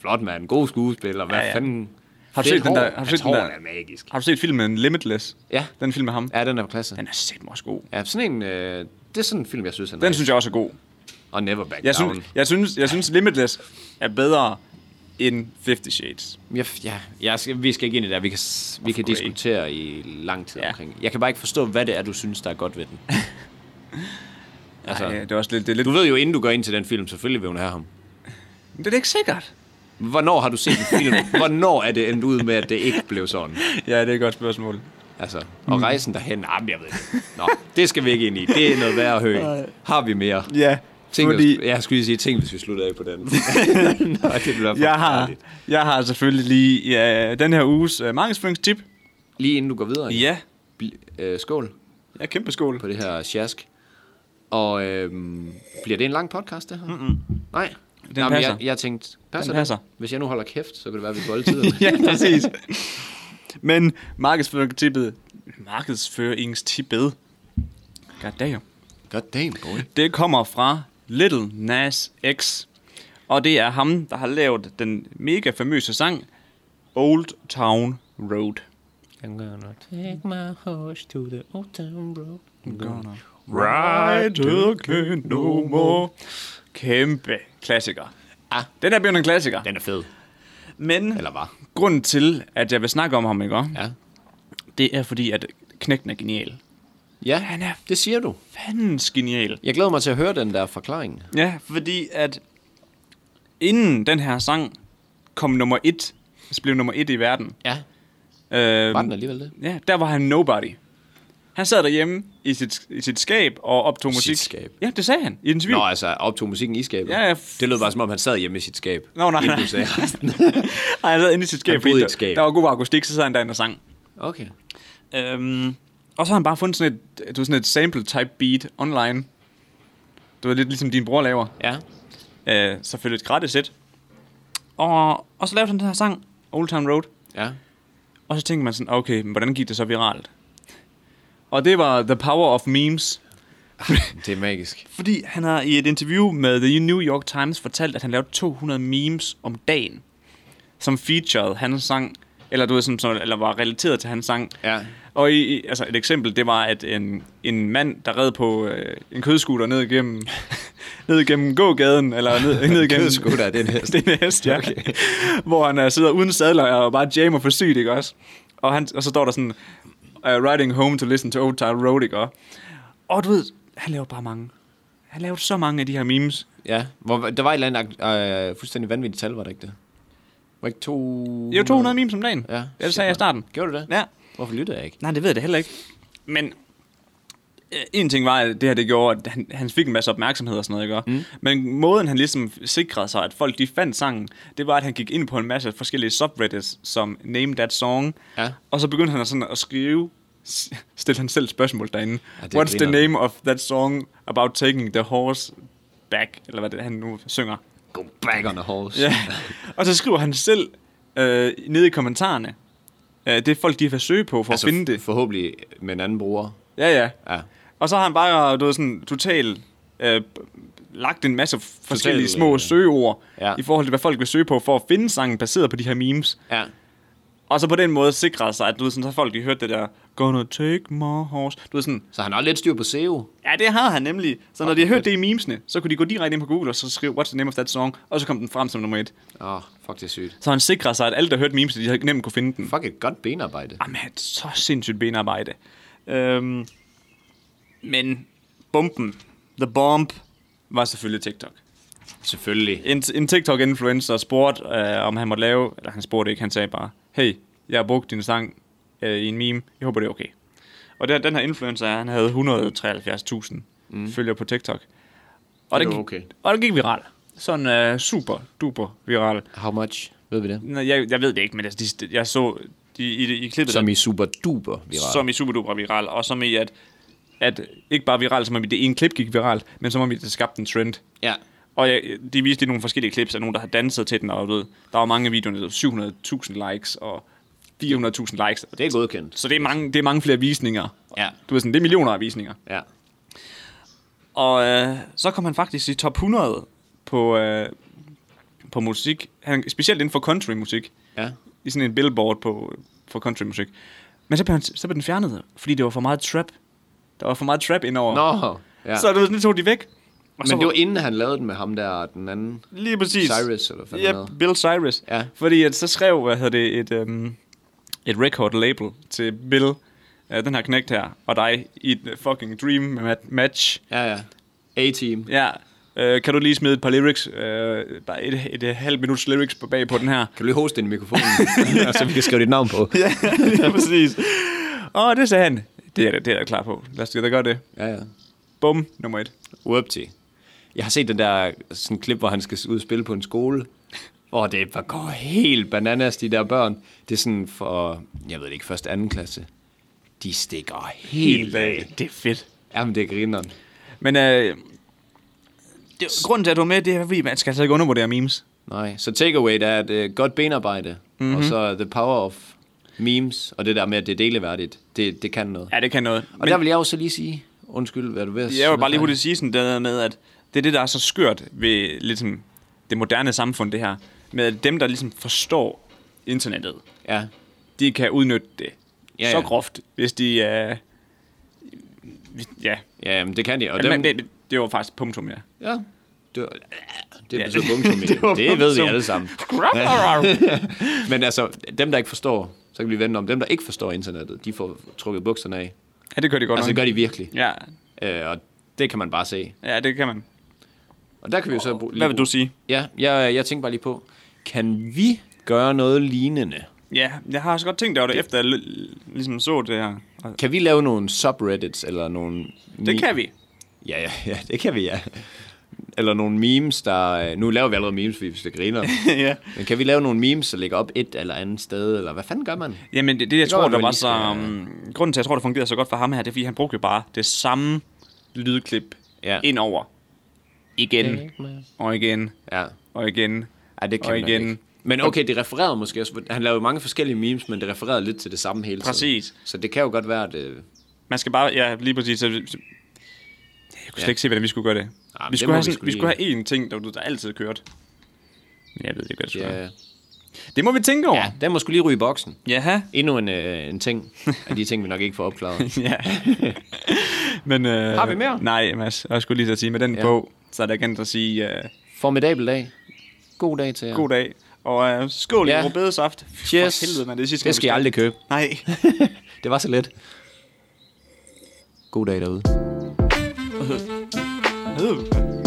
S1: Flot mand, god skuespiller. Hvad ja,
S2: Ja,
S1: ja.
S2: ja.
S1: fanden?
S2: Har du
S1: Fedt
S2: set den
S1: hår.
S2: der- har du
S1: Hans
S2: set den
S1: hår
S2: der-
S1: er magisk.
S2: Har du set filmen Limitless?
S1: Ja.
S2: Den film med ham.
S1: Ja, den er på klasse.
S2: Den er sæt mig også god.
S1: Ja, sådan en, øh, det er sådan en film, jeg synes, han er.
S2: Den synes jeg også er god.
S1: Og Never Back
S2: Jeg
S1: Down.
S2: synes, jeg synes, jeg synes Limitless er bedre end 50 Shades.
S1: Jeg, ja, jeg skal, vi skal ikke ind i det der. Vi kan, s- vi kan
S2: Grey.
S1: diskutere i lang tid ja.
S2: Ja.
S1: omkring. Jeg kan bare ikke forstå, hvad det er, du synes, der er godt ved den. altså,
S2: Altså, Ej, det er også lidt... Det er, lidt,
S1: Du ved jo, inden du går ind til den film, selvfølgelig vil hun have ham.
S2: det er da ikke sikkert.
S1: Hvornår har du set en film? Hvornår er det endt ud med, at det ikke blev sådan?
S2: Ja, det er et godt spørgsmål.
S1: Altså, og rejsen derhen, ah, men jeg ved det. Nå, det skal vi ikke ind i. Det er noget værd at høre. Har vi mere?
S2: Ja,
S1: Tænk,
S2: fordi...
S1: fordi... Jeg skulle lige sige ting, hvis vi slutter af på den. Nå, det bliver for
S2: Jeg har,
S1: forfærdeligt.
S2: jeg har selvfølgelig lige ja, den her uges uh, markedsføringstip.
S1: Lige inden du går videre,
S2: Ja,
S1: bl- øh, skål
S2: ja kæmpe skål.
S1: på det her sjask. Og øhm, bliver det en lang podcast, det her? Mm-mm. Nej. Den
S2: passer.
S1: Jeg, jeg tænkte, passer,
S2: Den
S1: den
S2: passer.
S1: Hvis jeg nu holder kæft, så kan det være, at vi bolder tiden.
S2: ja, præcis. Men markedsføringstippet... Markedsføringstippet... God damn.
S1: God damn, boy.
S2: Det kommer fra Little Nas X. Og det er ham, der har lavet den mega famøse sang Old Town Road.
S4: I'm gonna take my horse to the old town road.
S1: Mm.
S2: Right again no more. Kæmpe klassiker.
S1: Ah.
S2: Den er blevet en klassiker.
S1: Den er fed.
S2: Men
S1: Eller var.
S2: grunden til, at jeg vil snakke om ham, ikke? også?
S1: Ja.
S2: det er fordi, at knægten er genial.
S1: Ja,
S2: Han er-
S1: det siger du.
S2: Fandens genial.
S1: Jeg glæder mig til at høre den der forklaring.
S2: Ja, fordi at inden den her sang kom nummer et, altså blev nummer et i verden,
S1: Ja.
S2: øh,
S1: Var den alligevel det?
S2: ja, der var han nobody. Han sad derhjemme i sit, i sit skab og optog musik.
S1: skab.
S2: Ja, det sagde han i den svig.
S1: Nå, altså optog musikken i skabet.
S2: Ja, ja.
S1: Det lød bare som om, han sad hjemme i sit skab.
S2: Nå, nej,
S1: inden
S2: nej.
S1: du sagde resten.
S2: Ej, han sad inde i sit skab,
S1: Han boede
S2: fordi
S1: i et skab.
S2: Der, der var god akustik, så sad han derinde og sang.
S1: Okay.
S2: Øhm, og så har han bare fundet sådan et, du, ved, sådan et sample-type beat online. Du ved, lidt ligesom din bror laver.
S1: Ja.
S2: Øh, selvfølgelig et gratis sæt. Og, og så lavede han den her sang, Old Town Road.
S1: Ja.
S2: Og så tænkte man sådan, okay, men hvordan gik det så viralt? Og det var The Power of Memes.
S1: Det er magisk.
S2: Fordi han har i et interview med The New York Times fortalt, at han lavede 200 memes om dagen, som featurede hans sang, eller du ved, som, som eller var relateret til hans sang.
S1: Ja.
S2: Og i, i- altså et eksempel, det var, at en, en mand, der red på øh, en kødskuter ned igennem, ned igennem gågaden, eller ned, ned igennem...
S1: Kødskutter, det er en hest.
S2: det er en hest, ja. Okay. Hvor han øh, sidder uden sadler og bare jammer for sygt, ikke også? Og, han, og så står der sådan, uh, riding home to listen to Old Town Road, ikke også? Og du ved, han laver bare mange. Han lavede så mange af de her memes.
S1: Ja. Hvor, der var et eller andet øh, fuldstændig vanvittigt tal, var det ikke det? Var ikke to...
S2: Det er jo 200 memes om dagen.
S1: Ja.
S2: ja det
S1: Shit,
S2: sagde jeg i
S1: mand.
S2: starten.
S1: Gjorde du det?
S2: Ja.
S1: Hvorfor lytter jeg ikke?
S2: Nej, det ved jeg det heller ikke. Men øh, en ting var, at det her det gjorde, at han, han fik en masse opmærksomhed og sådan noget, ikke? Mm. Men måden, han ligesom sikrede sig, at folk de fandt sangen, det var, at han gik ind på en masse forskellige subreddits, som Name That Song,
S1: Ja.
S2: og så begyndte han sådan at skrive, s- stillede han selv spørgsmål derinde.
S1: Ja, det er
S2: What's the
S1: grineren.
S2: name of that song about taking the horse back? Eller hvad det er, han nu synger.
S1: Go back on the horse.
S2: Ja. Og så skriver han selv øh, nede i kommentarerne, øh, det er folk, de vil søge på for
S1: Altså,
S2: at finde det.
S1: forhåbentlig med en anden bruger.
S2: Ja, ja.
S1: Ja.
S2: Og så har han bare, du ved, sådan total øh, lagt en masse forskellige
S1: Total,
S2: små
S1: øh,
S2: søgeord
S1: ja.
S2: i forhold til, hvad folk vil søge på, for at finde sangen baseret på de her memes.
S1: Ja.
S2: Og så på den måde sikrede sig, at du ved, sådan, så folk de hørte det der, gonna take my horse. Du ved sådan,
S1: Så han har lidt styr på E SEO.
S2: ja, det har han nemlig. Så når de hørte det i memesene, så kunne de gå direkte ind på Google og så skrive, what's the name of that song? Og så kom den frem som nummer et.
S1: Åh, oh, fuck, det er sygt.
S2: Så han sikrede sig, at alle, der hørte memesene, de havde nemt kunne finde den.
S1: Fuck, et godt benarbejde.
S2: Jamen, så sindssygt benarbejde. Øhm, men bomben, the bomb, var selvfølgelig TikTok.
S1: Selvfølgelig.
S2: En, en TikTok-influencer spurgte, øh, om han måtte lave, eller han spurgte ikke, han sagde bare, hey, jeg har brugt din sang øh, i en meme, jeg håber, det er okay. Og der, den her influencer, han havde 173.000 mm. følgere på TikTok. Og
S1: Det
S2: den,
S1: var
S2: gik,
S1: okay.
S2: og den gik viral. Sådan øh, super, duper viral.
S1: How much? Ved vi det?
S2: Nå, Jeg, jeg ved det ikke, men altså, de, jeg så de, i, i klippet,
S1: Som i super duper viral.
S2: som i superduper viral, og som i, at, at ikke bare viral, som om i det ene klip gik viralt, men som om i det skabte en trend.
S1: Ja.
S2: Og jeg, de viste lige nogle forskellige klips af nogen, der har danset til den, og du ved, der var mange af videoerne, der var 700.000 likes og 400.000 likes.
S1: Det er godkendt.
S2: Så det er, mange, det er mange flere visninger.
S1: Ja.
S2: Du ved sådan, det er millioner af visninger.
S1: Ja.
S2: Og øh, så kom han faktisk i top 100 på, øh, på musik. Han, specielt inden for countrymusik.
S1: Ja.
S2: I sådan en billboard på, for countrymusik. Men så blev, han, så blev den fjernet, fordi det var for meget trap. Der var for meget trap indover.
S1: Nå. Ja.
S2: Så du ved, sådan, tog de væk. Og så
S1: Men det var inden han lavede den med ham der, den anden.
S2: Lige præcis.
S1: Cyrus, eller hvad fanden
S2: Ja,
S1: han hedder.
S2: Bill Cyrus.
S1: Ja.
S2: Fordi at så skrev, hvad hedder det, et, øhm, et record label til Bill, øh, den her knægt her, og dig, i et fucking dream ma- match.
S1: Ja, ja. A-team.
S2: Ja. Øh, kan du lige smide et par lyrics, øh, bare et, et, et halvt minuts lyrics på bag på den her?
S1: Kan du lige hoste den i mikrofonen, og så vi kan skrive dit navn på?
S2: ja, lige præcis. Og det sagde han. Det er, jeg da- det er jeg da klar på. Lad os da gøre det.
S1: Ja, ja.
S2: Bum, nummer et.
S1: Whoopty. Jeg har set den der sådan klip, hvor han skal ud og spille på en skole, hvor det bare går helt bananas, de der børn. Det er sådan for, jeg ved det ikke, første, anden klasse. De stikker helt af.
S2: Det er fedt.
S1: Jamen, det er grineren.
S2: Men øh, det, grunden til, at du er med, det er, fordi man skal altså ikke undervurdere memes.
S1: Nej, så takeaway det er et øh, godt benarbejde, mm-hmm.
S2: Mhm.
S1: og så the power of memes, og det der med, at det er deleværdigt, det, det kan noget.
S2: Ja, det kan noget.
S1: Og men, der vil jeg jo så lige sige, undskyld, hvad du ved.
S2: Jeg vil bare lige hurtigt sige sådan det der med, at det er det, der er så skørt ved ligesom, det moderne samfund, det her. Med at dem, der ligesom forstår internettet,
S1: Ja,
S2: de kan udnytte det
S1: Ja,
S2: ja, så
S1: ja.
S2: groft, hvis de... Øh, ja,
S1: ja men det kan de. Og dem,
S2: Dem, men, det, det var faktisk punktum, ja.
S1: ja, det, var- det
S2: Ja.
S1: betyder punktum. det, det ved vi
S2: punktum.
S1: alle sammen. Men altså, dem der ikke forstår, så kan vi vende om. Dem der ikke forstår internettet, de får trukket bukserne af.
S2: ja, det gør de godt
S1: Altså, det
S2: nok.
S1: gør de virkelig.
S2: Ja,
S1: Øh, og det kan man bare se.
S2: ja, det kan man.
S1: Og der kan vi jo så... bruge- lige
S2: Hvad vil du
S1: bruge-
S2: sige?
S1: Ja, jeg, jeg tænkte bare lige på, kan vi gøre noget lignende?
S2: Ja, jeg har også godt tænkt over det, efter jeg l- ligesom så det her. Og
S1: Kan vi lave nogle subreddits, eller nogle...
S2: Det kan vi.
S1: Ja, ja, ja, det kan vi, ja. Eller nogle memes, der... øh, Nu laver vi allerede memes, fordi vi skal grine.
S2: ja.
S1: Men kan vi lave nogle memes, der ligger op et eller andet sted, eller hvad fanden gør man?
S2: Jamen, det, det jeg
S1: Det
S2: tror,
S1: går,
S2: der
S1: at man
S2: var
S1: lige
S2: så... Um, grunden til, at jeg tror, det fungerede så godt for ham her, det er, fordi han brugte jo bare det samme lydklip
S1: Ja.
S2: ja. ind over. Igen, og igen,
S1: Ja,
S2: og igen.
S1: ja det kan
S2: Og
S1: man
S2: igen.
S1: Ikke. Men okay, det refererede måske også... Han lavede mange forskellige memes, men det refererede lidt til det samme hele tiden.
S2: Præcis.
S1: Så det kan jo godt være, at... Øh,
S2: Man skal bare... Ja, lige præcis. Så, så, jeg kunne slet
S1: Ja.
S2: ikke se, hvordan vi skulle gøre det.
S1: men
S2: vi,
S1: det
S2: skulle
S1: må
S2: have
S1: vi
S2: sådan,
S1: sgu
S2: vi, vi
S1: lige-
S2: skulle have én ting, der, du- der altid kørte. Men jeg ved ikke, hvad det skulle yeah.
S1: ja,
S2: Det må vi tænke over.
S1: ja, den må skulle lige ryge i boksen.
S2: Jaha.
S1: Endnu en, øh, en ting af de ting, vi nok ikke får opklaret.
S2: Ja. men, øh,
S1: Har vi mere?
S2: Nej, Mads. Jeg skulle lige så sige, med den ja. på, så er der igen at sige øh,
S1: Formidabel dag. God dag til jer.
S2: god dag. Og øh, skål
S1: Ja.
S2: i robedesaft.
S1: Cheers.
S2: For helvede, man. Det, er sidste, gang,
S1: Det
S2: vi
S1: skal jeg aldrig købe.
S2: Nej.
S1: Det var så let. God dag derude.
S2: Øh.